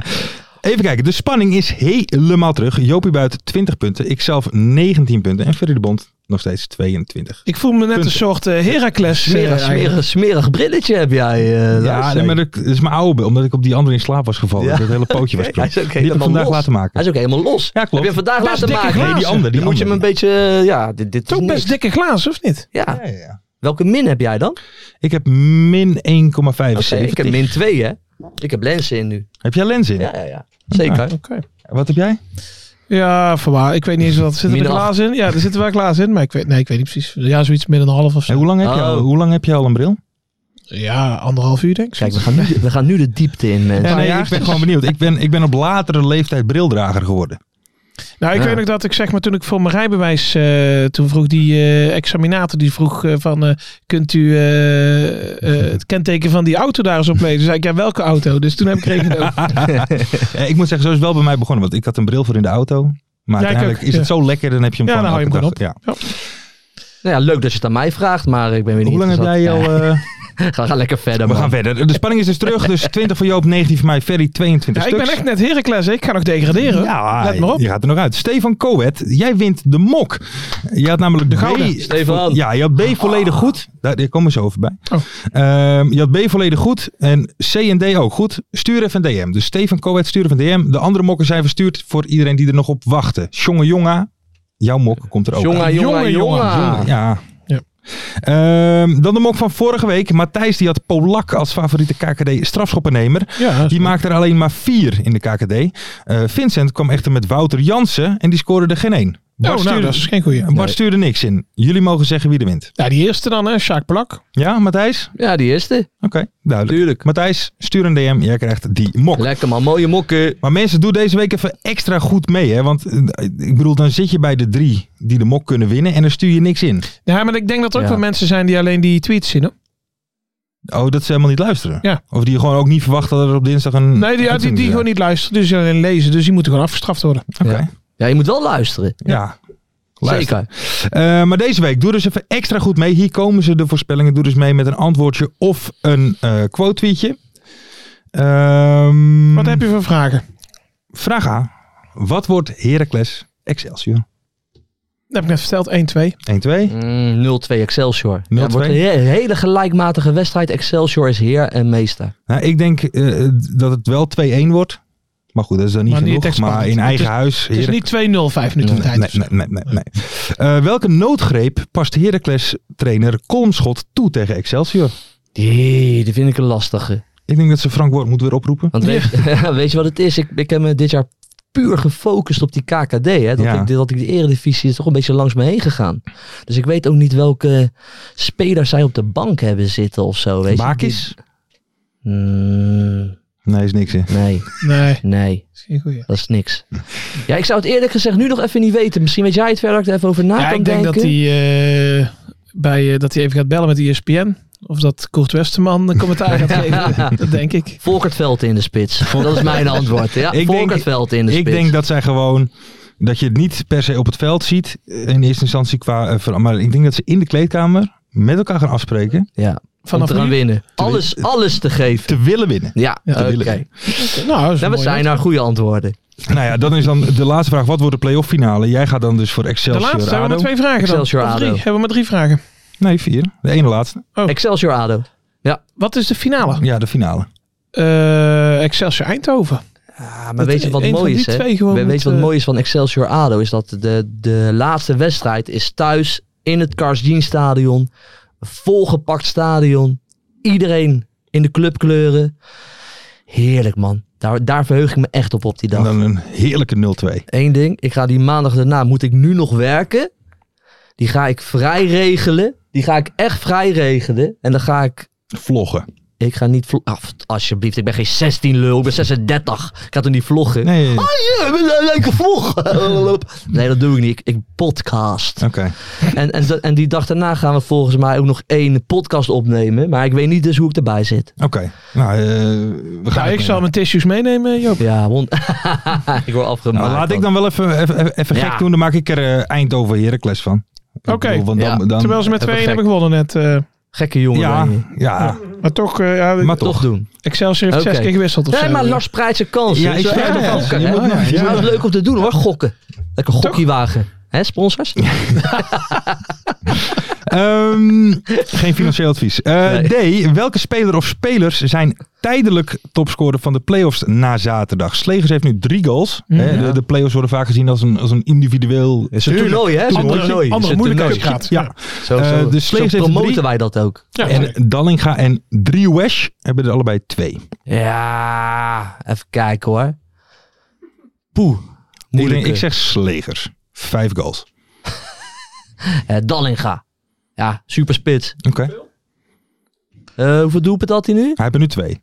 B: even kijken. De spanning is helemaal terug. Jopie Buiten 20 punten. Ikzelf 19 punten. En Ferry de Bond nog steeds 22.
C: Ik voel me net een
B: Punten.
C: soort eh, Heracles. eh,
D: smerig,
C: eigenlijk.
D: smerig, smerig brilletje heb jij. eh,
B: Ja,
D: Lars.
B: nee, maar dat dat is mijn oude, omdat ik op die andere in slaap was gevallen.
D: Ja.
B: Dat het hele pootje was
D: Hij
B: toen.
D: is ook
B: Die heb ik
D: helemaal
B: vandaag
D: los.
B: laten maken.
D: Hij is ook helemaal los.
B: Ja, klopt.
D: Heb je hem vandaag
C: Best
D: laten
C: dikke
D: maken?
C: glazen.
B: Nee, die ander. Die
D: Dan moet je hem een
B: andere.
D: beetje... eh, Ja, dit, dit is
C: Toch
D: niks.
C: best dikke glazen, of niet?
D: Ja.
B: Ja, ja, ja.
D: Welke min heb jij dan?
B: Ik heb min 1,75.
D: Oké, ik heb min 2, hè? Ik heb lenzen in nu.
B: Heb jij lens in?
D: Ja, ja, ja. Zeker.
C: Oké.
B: Wat heb jij?
C: Ja, voorwaar. Ik weet niet eens wat. Zit er
D: Min
C: een
D: acht.
C: glazen in? Ja, er zitten wel glazen in. Maar ik weet, nee, ik weet niet precies. Ja, zoiets midden een half of
B: En
C: zo.
B: hoe lang heb, je, al,
D: Oh.
B: hoe lang heb je al een bril?
C: Ja, anderhalf uur denk ik.
D: Kijk, we gaan, nu, we gaan nu de diepte in, mensen. Nou
B: Ja, nee, ik
C: jaartjes.
B: ben gewoon benieuwd. Ik ben, ik ben op latere leeftijd brildrager geworden.
C: Nou, ik
D: Ja.
C: weet ook dat ik zeg maar toen ik voor mijn rijbewijs, eh, toen vroeg die eh, examinator, die vroeg eh, van, eh, kunt u eh, eh, het kenteken van die auto daar eens op lezen? Toen zei ik, ja, welke auto? Dus toen heb ik rekening
B: Eh, ik moet zeggen, zo is het wel bij mij begonnen. Want ik had een bril voor in de auto. Maar
C: Ja, ik
B: uiteindelijk
C: ook,
B: is het
C: ja.
B: zo lekker, dan heb je hem
C: Ja,
B: gewoon
C: dan hou je
B: elke
C: hem
B: dag. Ja.
D: Nou ja, leuk dat je het aan mij vraagt, maar ik ben weer niet
B: Hoe lang heb jij al...
D: interessant.
B: eh,
D: Nee, ga, ga lekker verder,
B: we
D: man.
B: gaan verder. De spanning is dus terug. Dus 20 voor Joop, 19 voor mij. Ferry, 22
C: Ja, ik
B: stuks.
C: ben echt net Heracles. hè. Ik ga nog degraderen.
B: Ja,
C: Let maar op.
B: je gaat er nog uit. Stefan Coet, jij wint de mok. Je had namelijk de
C: gouden.
B: B,
D: Stefan.
B: Ja, je had B volledig goed. Daar, daar komen we zo over bij.
C: Oh.
B: Ehm, je had B volledig goed en C en D ook goed. Stuur even een DM. Dus Stefan Coet, stuur even een DM. De andere mokken zijn verstuurd voor iedereen die er nog op wachtte. Jonge Jonga, jouw mok komt er ook aan.
D: Jonga, jonga,
C: Jongen, jongen,
D: jonga.
C: jongen.
B: Ja.
C: Ja.
B: Ehm, dan de mok van vorige week. Matthijs die had Polak als favoriete KKD strafschoppennemer.
C: Ja,
B: Die maakte er alleen maar vier in de KKD. Eh, Vincent kwam echter met Wouter Jansen en die scoorde er geen één.
C: Oh,
B: Bart,
C: nou,
B: stuurde,
C: dat is geen goeie.
B: Bart stuurde niks in. Jullie mogen zeggen wie er wint.
C: Ja, die eerste dan, hè? Sjaak Plak.
B: Ja, Matthijs?
D: Ja, die eerste.
B: Oké, duidelijk.
D: Tuurlijk.
B: Matthijs, stuur een DM. Jij krijgt die mok.
D: Lekker man, mooie mokken.
B: maar mensen, doe deze week even extra goed mee. Hè? Want eh, ik bedoel, dan zit je bij de drie die de mok kunnen winnen en dan stuur je niks in.
C: Ja, maar ik denk dat er ook
D: Ja.
C: wel mensen zijn die alleen die tweets zien. Hoor.
B: Hm, Oh, dat ze helemaal niet luisteren.
C: Ja.
B: Of die gewoon ook niet verwachten dat er op dinsdag een...
C: Nee, die, die, die,
B: uitzending is.
C: gewoon niet luisteren. Dus die alleen lezen. Dus die moeten gewoon afgestraft worden.
B: Oké,
D: Ja. Ja, je moet wel luisteren.
B: ja. Luister.
D: Zeker.
B: Eh, maar deze week, doe dus even extra goed mee. Hier komen ze, de voorspellingen. Doe dus mee met een antwoordje of een eh quote tweetje. Ehm,
C: Wat heb je voor vragen?
B: Vraag A. Wat wordt Heracles Excelsior?
C: Dat heb ik net verteld. 1-2.
B: 1-2.
D: Mm, 0-2 Excelsior.
B: 0-2.
D: Ja, het wordt een he- hele gelijkmatige wedstrijd. Excelsior is heer en meester.
B: Nou, ik denk eh, dat het wel 2-1 wordt. Maar goed, dat is dan niet
C: Maar niet
B: genoeg.
C: echt
B: maar
C: spannend.
B: in
C: Het
B: eigen
C: is-
B: huis.
C: Het is niet 2-0 vijf minuten
B: Nee,
C: voor tijd.
B: nee, nee, nee, nee, nee. Eh, welke noodgreep past Heracles trainer Kolmschot toe tegen Excelsior?
D: Die, die vind ik een lastige.
B: Ik denk dat ze Frank Woord moet weer oproepen.
D: Want weet, weet je wat het is? Ik, ik heb me dit jaar puur gefocust op die KKD. Hè? Dat,
B: Ja.
D: ik, dat ik de eredivisie is toch een beetje langs me heen gegaan. Dus ik weet ook niet welke spelers zij op de bank hebben zitten of zo. Weet je.
B: Bakis?
D: Die- Mm,
B: Nee, is niks. hè.
D: nee,
C: Nee, dat
D: nee.
C: is geen goeie.
D: Dat is niks. Ja, ik zou het eerlijk gezegd nu nog even niet weten. Misschien weet jij het verder dat ik er even over na
C: ja,
D: Ah, kan
C: ik denk dat
D: denken.
C: hij eh, bij eh, dat hij even gaat bellen met ESPN. Of dat Koert Westerman een commentaar gaat geven. Dat denk ik.
D: Volkert Veld in de spits. Dat is mijn antwoord. Ja,
B: Ik denk-
D: Volkert Veld in de
B: Ik
D: spits.
B: denk dat zij gewoon. Dat je het niet per se op het veld ziet. eh, In eerste instantie qua. eh, ver- Maar ik denk dat ze in de kleedkamer. met elkaar gaan afspreken.
D: ja,
C: Vanaf
D: om te gaan
C: nu?
D: winnen. Alles, alles te geven.
B: te willen winnen.
D: Ja,
C: Ja, te
D: oké.
B: willen.
C: Nou, dat is
D: Nou,
C: een
D: we
C: mooie
D: zijn naar goede antwoorden.
B: Nou ja, dan is dan de laatste vraag. Wat wordt de play-off finale? Jij gaat dan dus voor
C: De
B: Excelsior.
C: laatste hebben we
B: ADO.
C: maar twee vragen dan. Of
D: Excelsior
C: drie.
D: ADO.
C: Hebben we maar drie vragen.
B: Nee, vier. De ene laatste.
C: Oh.
D: Excelsior ADO.
C: Wat is de finale?
B: Ja, de finale.
C: Eh Excelsior Eindhoven.
D: Ja, maar
C: Dat-
D: weet je wat
C: een
D: mooi
C: van
D: is,
C: die
D: hè?
C: twee gewoon
D: We-
C: met,
D: weet je wat
C: eh,
D: mooi is van Excelsior ADO? Is dat de, de laatste wedstrijd is thuis in het Karsdien stadion. Volgepakt stadion. Iedereen in de clubkleuren. Heerlijk, man. Daar, daar verheug ik me echt op op die
B: En
C: Nou.
D: dag.
B: dan een heerlijke 0-2.
D: Eén ding, ik ga die maandag daarna, moet ik nu nog werken? Die ga ik vrij regelen. Die ga ik echt vrij regelen. En dan ga ik,
B: Vloggen.
D: ik ga niet vloggen. alsjeblieft, ik ben geen 16 lul, ik ben 36. Ik ga toch niet vloggen?
B: Nee.
D: Oh ja, we zijn leuke vlog. nee, dat doe ik niet. Ik, ik podcast.
B: Oké.
D: En, en, dat- en die dag daarna gaan we volgens mij ook nog één podcast opnemen. Maar ik weet niet dus hoe ik erbij zit.
B: Oké. Nou, eh, we gaan
C: Nou, ik
B: het
C: zal
B: nemen.
C: mijn tissues meenemen, eh, Joop.
D: Ja, want ik word afgemaakt.
B: Nou, laat ik dan wel even, even, even- even
D: Ja.
B: gek doen. Dan maak ik er eh, Eindhoven Heracles van. Ik
C: Oké.
B: bedoel, want
D: Ja,
B: dan, dan,
C: Terwijl ze met 2-1
D: Even gek.
C: hebben gewonnen net. eh.
D: Gekke jongen.
B: ja,
D: ben je.
B: ja,
C: maar toch, eh, ja,
B: maar
D: Toch
B: toch.
D: doen.
C: Excelsior heeft
D: Oké.
C: zes keer gewisseld of zo.
D: Nee, maar Lars prijt zijn kans.
B: Ja, ik
D: Zo
B: zei
D: echt
B: het
D: nog
B: al.
D: gokken,
B: Je
D: hè?
B: moet nog- je
D: Ja,
B: moet
D: dat is
B: nog-
D: leuk om te doen hoor, gokken. Lekker gokkiewagen. Hè, sponsors?
B: Ehm, geen financieel advies. Eh, D. Welke speler of spelers zijn tijdelijk topscorer van de playoffs na zaterdag? Slegers heeft nu drie goals. hè.
C: ja.
B: de, de playoffs worden vaak gezien als een, als een individueel.
D: Is een toernooi, hè? Is een
C: Andere,
D: toernooi.
C: andere
D: Is een
C: moeilijkheidsgraad.
B: Ja,
D: toernooi. Zo,
B: Eh,
D: zo.
B: de
D: Zo
B: Slees heeft
D: promoten
B: drie.
D: wij dat ook.
C: Ja.
B: en Dallinga en Driewesh hebben er allebei twee.
D: Ja, even kijken hoor. Poeh.
B: Ik,
D: Moeilijk.
B: denk- ik zeg Slegers. Vijf goals.
D: Eh, Dallinga. Ja, super spits.
B: Oké.
D: Eh, hoeveel doelpunten had hij nu?
B: Hij heeft er nu twee.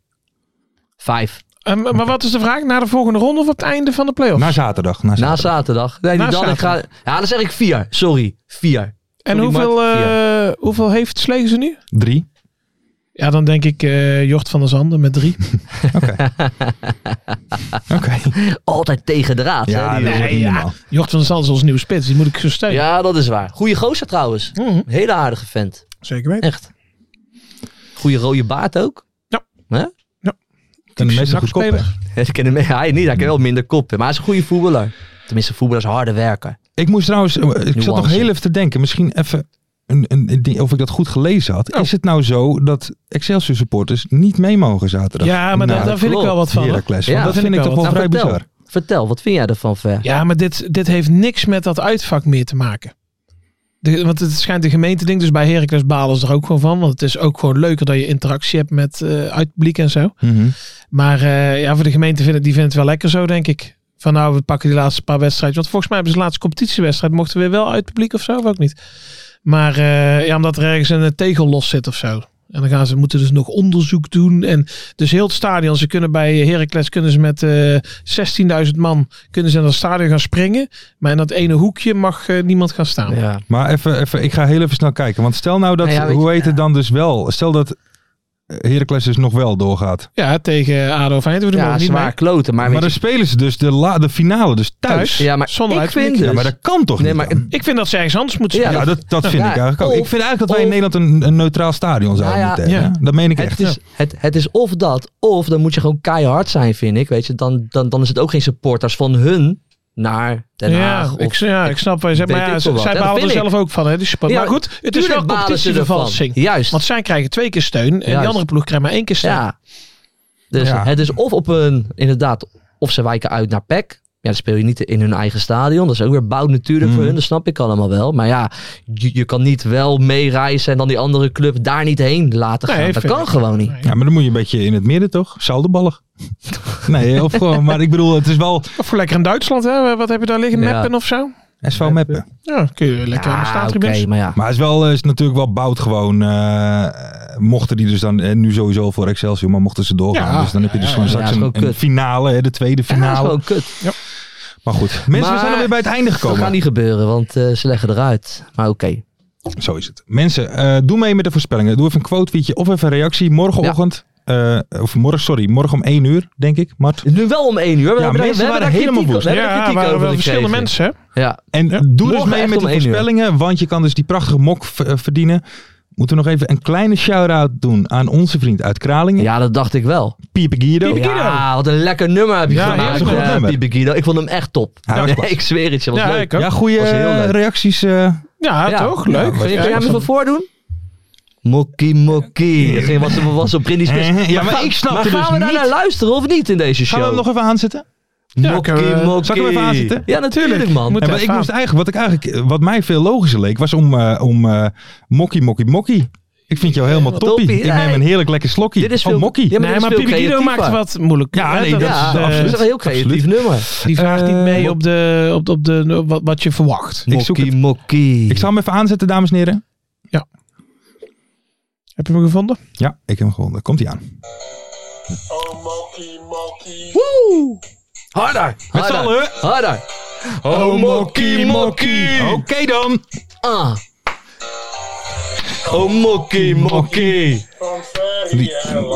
D: Vijf.
C: Eh, maar- maar wat is de vraag? Na de volgende ronde of op het einde van de playoffs?
B: Na zaterdag. Na
D: Na
B: zaterdag.
D: zaterdag. Nee, die
C: Na
D: Dallinga. Ja, dan zeg ik vier. Sorry. Vier.
C: en
D: Sorry,
C: hoeveel,
D: Mart,
C: eh, hoeveel heeft Slegen ze nu?
B: Drie.
C: Ja, dan denk ik eh, Jort van der Zanden met drie.
B: Oké.
D: Altijd tegen de raad.
B: Ja,
D: hè,
B: dat
D: die
B: is
D: jongen.
B: echt niet normaal.
C: Jort van der Zanden is onze nieuwe spits. Die moet ik zo steunen.
D: ja, dat is waar. Goeie gozer trouwens.
C: Mhm.
D: Hele aardige vent.
C: Zeker weten.
D: Echt. Goeie rode baard ook.
B: En de meeste goedkoop, hè?
C: Nakspeler.
D: Ik ken hem, hij niet, hij kan wel minder koppen. Maar hij is een goede voetballer. Tenminste, voetballers harde werken.
B: Ik moest trouwens, eh, ik zat nog
D: Nuance.
B: heel even te denken, misschien even een, een, een ding, of ik dat goed gelezen had.
C: Oh.
B: Is het nou zo dat Excelsior supporters niet mee mogen zaterdag?
C: Ja, maar
B: Nou,
C: daar, daar vind ik wel wat van. hoor.
B: Heracles,
D: Ja,
B: want dat
C: vind
B: vind ik
C: ik
B: toch wel
C: wel
D: Nou,
B: vrij
D: vertel.
B: bizar.
D: Vertel, wat vind jij ervan, Ver?
C: Ja, maar dit, dit heeft niks met dat uitvak meer te maken. De, want het schijnt een gemeenteding, dus bij Heracles balen ze er ook gewoon van. Want het is ook gewoon leuker dat je interactie hebt met eh uitpubliek en zo.
B: Mhm.
C: Maar eh, ja, voor de gemeente vinden die vindt het wel lekker zo, denk ik. Van nou, we pakken die laatste paar wedstrijden. Want volgens mij hebben ze de laatste competitiewedstrijd. Mochten we wel uit publiek of zo, of ook niet. Maar eh, ja, omdat er ergens een eh, tegel los zit of zo. En dan gaan ze, moeten dus nog onderzoek doen. En dus heel het stadion. Ze kunnen bij eh, Heracles kunnen ze met eh 16.000 man kunnen ze in dat stadion gaan springen. Maar in dat ene hoekje mag eh, niemand gaan staan.
D: Ja.
B: Maar even, even, ik ga heel even snel kijken. Want stel nou dat,
D: Nou ja, weet
B: hoe
D: je-
B: heet het
D: ja.
B: dan dus wel? Stel dat Heracles dus nog wel doorgaat.
C: Ja, tegen ADO Feyenoord.
D: Ja,
C: Ja, niet
D: zwaar
C: mee.
D: kloten. Maar,
B: Maar
D: weet
B: dan spelen ze dus de, la, de finale dus thuis.
C: Thuis.
D: je- ja, maar
C: zonder
D: ik vind
C: uitpubliek.
D: dus...
B: Ja, maar dat kan toch
D: nee,
B: niet?
D: maar
B: dan?
C: Ik vind dat ze ergens anders moeten
D: Ja,
C: spelen.
B: ja, dat, dat vind
D: Ja,
B: ik eigenlijk ook.
D: of-
B: ik vind eigenlijk dat wij in
D: of-
B: Nederland een, een neutraal stadion zouden
D: Nou ja,
B: moeten hebben. Dat meen ik echt.
D: Het is, het, het is of dat, of dan moet je gewoon keihard zijn, vind ik. Weet je, dan, dan, dan is het ook geen supporters van hun naar Den Haag.
C: Ja,
D: of-
C: ik, ja, ik snap wat je zegt.
D: weet
C: Maar ja,
D: ik
C: ze-
D: veel wat.
C: zij
D: Ja, dat
C: balen er
D: vind ik.
C: zelf ook van. Hè, de support.
D: Ja,
C: maar goed, het is wel
D: Tuurlijk balen ze ervan.
C: competitievervalsing.
D: Juist.
C: Want zij krijgen twee keer steun en die
D: Juist.
C: andere ploeg krijgt maar één keer steun.
D: ja. Dus
B: Ja.
D: het is of op een, inderdaad, of ze wijken uit naar PEC. Ja, dan speel je niet in hun eigen stadion. Dat is ook weer bouw natuurlijk voor
C: Mm.
B: Mhm.
D: hun. Dat snap ik allemaal wel. Maar ja, je, je kan niet wel meereizen en dan die andere club daar niet heen laten gaan.
C: Nee,
D: dat
C: vind
D: kan
C: ik-
D: gewoon niet.
C: Nee.
B: Ja, maar dan moet je een beetje in het midden toch? Zoudenballig. nee, of gewoon, maar ik bedoel, het is wel
C: Of voor lekker in Duitsland, hè? wat heb je daar liggen?
D: Ja.
C: Meppen of zo?
B: SV Meppen.
C: Ja, kun je lekker aan de
D: Ja, oké,
C: staattribunes.
D: maar ja.
B: Maar het is, wel, is natuurlijk wel bout gewoon. eh, mochten die dus dan, eh, nu sowieso voor Excelsior, maar mochten ze doorgaan.
C: Ja.
B: dus dan heb je dus
C: Ja,
B: gewoon
D: ja,
B: straks
D: ja, dat is
B: een,
D: gewoon
B: een
D: kut.
B: finale, hè, de tweede
D: Ja, dat
C: nou,
D: is
B: finale.
D: gewoon kut.
B: Maar goed, mensen, we zijn
D: Maar-
B: alweer bij het einde
D: Dat
B: gekomen.
D: gaat niet gebeuren, want eh, ze leggen eruit. Maar oké.
B: Zo is het. Mensen, eh, doe mee met de voorspellingen. Doe even een quote tweetje of even een reactie. Morgenochtend, eh, of morgen, sorry, morgen om 1 uur, denk ik, Mart.
D: Het is nu wel om één uur. We
B: Ja,
D: hebben daar-
B: mensen
D: we hebben
B: waren
D: daar
B: helemaal
D: kritiek-
B: woest.
D: we hebben daar
C: Ja,
D: kritiek
C: waren
D: over
C: wel
D: gekregen.
C: verschillende mensen. hè?
D: Ja,
B: En
C: Ja.
B: doe dus
D: Morgen
B: mee
D: echt
B: met de
D: om één uur.
B: voorspellingen, want je kan dus die prachtige mok v- eh, verdienen. Moeten we nog even een kleine shout-out doen aan onze vriend uit Kralingen,
D: ja, dat dacht ik wel.
B: Pieper Guido.
C: Pieper Guido.
D: Ja, wat een lekker nummer heb je
C: Ja,
D: gemaakt,
C: heerlijk
D: eh,
B: nummer.
D: Pieper Guido. Ik vond hem echt top.
B: Hij was
D: Nee,
B: klaar.
D: ik zweer het je, was
C: Ja,
D: leuk.
C: ik ook.
B: Ja, goede
D: Was heel leuk.
B: reacties. eh.
C: Ja,
D: Ja.
C: toch? Leuk.
D: Kun je- kun jij me
C: Ja,
D: van voordoen? Mokkie, mokkie. Geen was, was op Britney Spears.
B: Eh, ja, maar
D: gaan-
B: ik snap
D: maar
B: het
D: gaan
B: dus
D: we daar
B: niet.
D: naar luisteren of niet in deze show?
B: Gaan we hem nog even aanzetten?
C: Ja,
D: Mokkie,
C: kunnen we-
D: mokkie.
B: Zal ik hem even aanzetten?
D: Ja, natuurlijk man.
C: Moet-
B: Ja,
C: Ja,
B: maar ik
C: faam.
B: moest eigenlijk, wat, ik eigenlijk, eh, wat mij veel logischer leek, was om, eh, om eh, mokkie, mokkie, mokkie. Ik vind jou helemaal
D: Helemaal
B: toppie.
D: toppie.
B: Ik neem
D: Nee.
B: een heerlijk lekker slokje.
D: Dit is
B: oh,
D: veel-
B: mokkie.
D: Ja, maar
C: nee,
D: dit is
C: maar
D: veel
C: Pipi Guido maakt
D: creatiever.
C: wat moeilijk.
B: Ja,
C: hè?
B: nee, dat
D: ja,
B: is, eh,
C: eh,
D: dat is een heel creatief
B: absoluut.
D: nummer.
C: Die vraagt niet mee
B: Eh,
C: op, de, op, op de, op wat, wat je verwacht.
B: Ik zoek
D: Mokkie, mokkie.
B: Ik zal hem even aanzetten, dames en heren.
C: Heb je hem gevonden?
B: Ja, ik heb hem gewonnen. Komt hij aan.
D: Harder.
B: Met z'n
D: Harder.
B: allen.
D: Harder.
B: Oh,
D: mokkie, mokkie.
B: Oké dan.
D: Ah. Oh, mokkie, mokkie.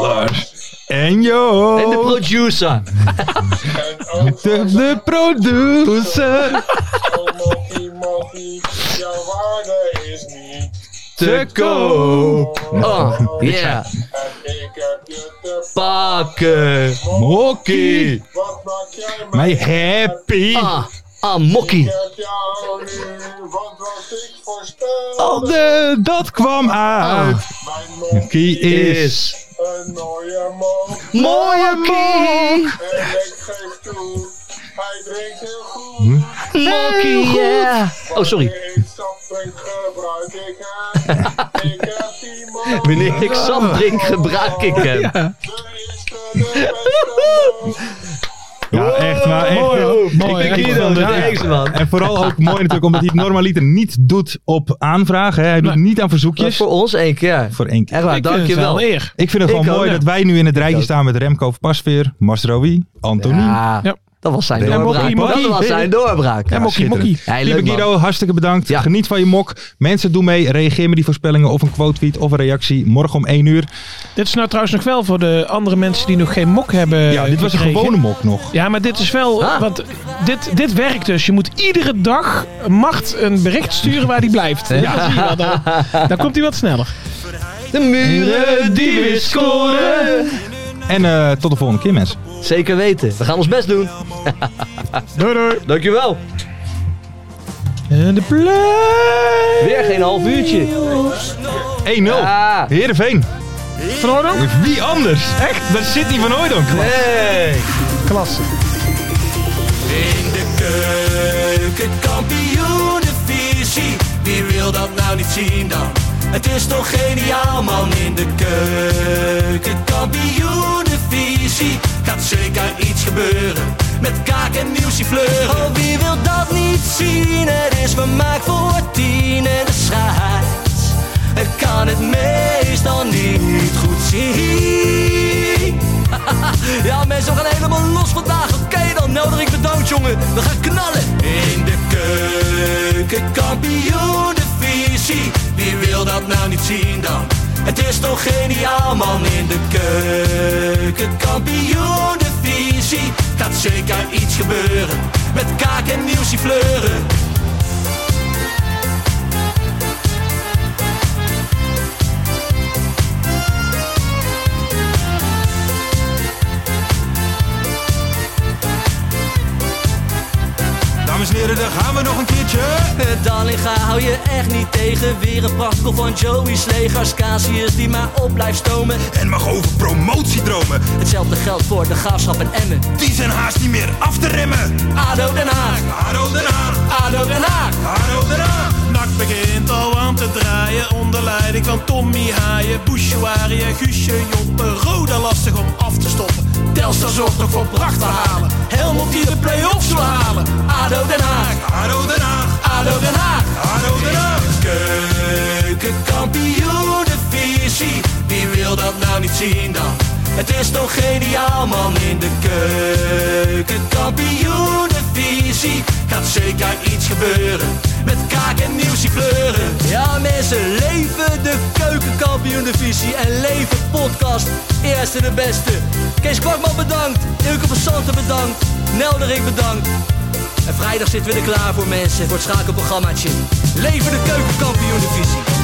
B: Lars en Jo.
D: En de producer.
B: de, de producer.
D: Te koop. Ah, yeah. Pakken.
B: Mokkie. Mij happy.
D: Ah, ah, mokkie.
B: Al de- dat kwam uit. Mokkie is.
D: Ah. Is. Mooie mokkie. Mokkie, yeah. Oh, sorry. Wanneer ik sap drink, gebruik ik hem.
B: Ja, echt waar. Echt,
C: Mooi,
B: heel
C: hoor. Mooi,
B: Ik
C: hè?
B: ben
C: Ik
B: Guido.
C: vond het
B: ja.
D: echt, man.
B: En vooral ook mooi natuurlijk, omdat hij het normaliter niet doet op aanvragen. hè. Hij doet
C: Nee.
B: niet aan
D: Maar
B: verzoekjes.
D: voor ons één keer.
B: Voor één keer.
D: Echt waar,
C: Ik vind het wel
D: dankjewel.
C: een eer.
B: Ik vind het
D: Ik
B: gewoon
D: ook,
B: mooi
C: ja.
B: dat wij nu in het rijtje
D: ook.
B: staan met Remco Pasveer, Mastrowi, Antonie.
D: Ja,
C: Ja.
D: dat was zijn
B: Ja,
D: doorbraak.
B: mokkie, mokkie.
D: Dat was zijn doorbraak.
B: Ja, mokkie,
D: schitterend.
B: mokkie.
D: Hey,
B: Lieve
D: leuk, man.
B: Guido, hartstikke bedankt.
D: Ja.
B: Geniet van je mok. Mensen, doe mee. Reageer met die voorspellingen of een quote tweet of een reactie. Morgen om 1 uur.
C: Dit is nou trouwens nog wel voor de andere mensen die nog geen mok hebben.
B: Ja,
D: Eh,
B: dit was een
C: gekregen.
B: gewone mok nog.
C: Ja, maar dit is wel.
D: Ah.
C: Want dit, dit werkt dus. Je moet iedere dag macht een bericht sturen waar die blijft. Ja, zie je wel. Dan, dan komt hij wat sneller.
D: De muren die we scoren.
B: En eh, tot de volgende keer, mensen.
D: Zeker weten. We gaan ons best doen.
C: Doei doei.
D: Dankjewel.
C: En de play.
D: Weer geen half uurtje.
B: 1-0.
D: Ah.
B: Heerenveen.
C: Van Oordonk?
B: Wie anders? Echt? Daar zit hij van Hooijdonk.
D: Hey.
C: Klasse.
F: In de keuken, kampioen de visie. Wie wil dat nou niet zien dan? Het is toch geniaal man in de keuken, kampioen de visie. Gaat zeker iets gebeuren met kaak en muziefleur. Oh, wie wil dat niet zien? Het is vermaakt voor tien en de scheids. Ik kan het meestal niet goed zien. Ja, mensen, we gaan helemaal los vandaag. Oké, dan nodig ik de dood, jongen. We gaan knallen. In de keuken, kampioen, de visie. Wie wil dat nou niet zien dan? Het is toch geniaal, man. In de keuken, kampioen, de visie. Gaat zeker iets gebeuren. Met kaak en nieuws die fleuren.
G: Dames en heren, daar gaan we nog een keertje.
F: Eh, Dallinga hou je echt niet tegen. Weer een prachtkel van Joey's legers. Casius die maar op blijft stomen.
G: En mag over promotiedromen.
F: Hetzelfde geldt voor de graafschap en Emmen.
G: Die zijn haast niet meer af te remmen.
F: ADO Den Haag,
G: Haro Den Haag,
F: ADO Den Haag.
G: Haro Den Haag.
F: Nak begint al aan te draaien onder leiding van Tommy Haaien, Bouchouari en Guusje Joppen. Roda lastig om af te stoppen. Telstra zorgt nog voor pracht te halen. Helmond die de play-offs wil halen. ADO Den Haag, ADO Den Haag, ADO Den Haag, ADO Den Haag. Keukenkampioenenvisie, wie wil dat nou niet zien dan? Het is toch geniaal man in de keukenkampioenenvisie. Gaat zeker iets gebeuren met kaak en nieuwsie kleuren. Ja mensen, leven de keukenkampioenenvisie en leven podcast. Eerste de beste. Kees Kwakman bedankt, Ilke van Santen bedankt, Nelderik bedankt. En vrijdag zitten we er klaar voor mensen, voor het schakelprogrammaatje. Leven de keukenkampioenenvisie.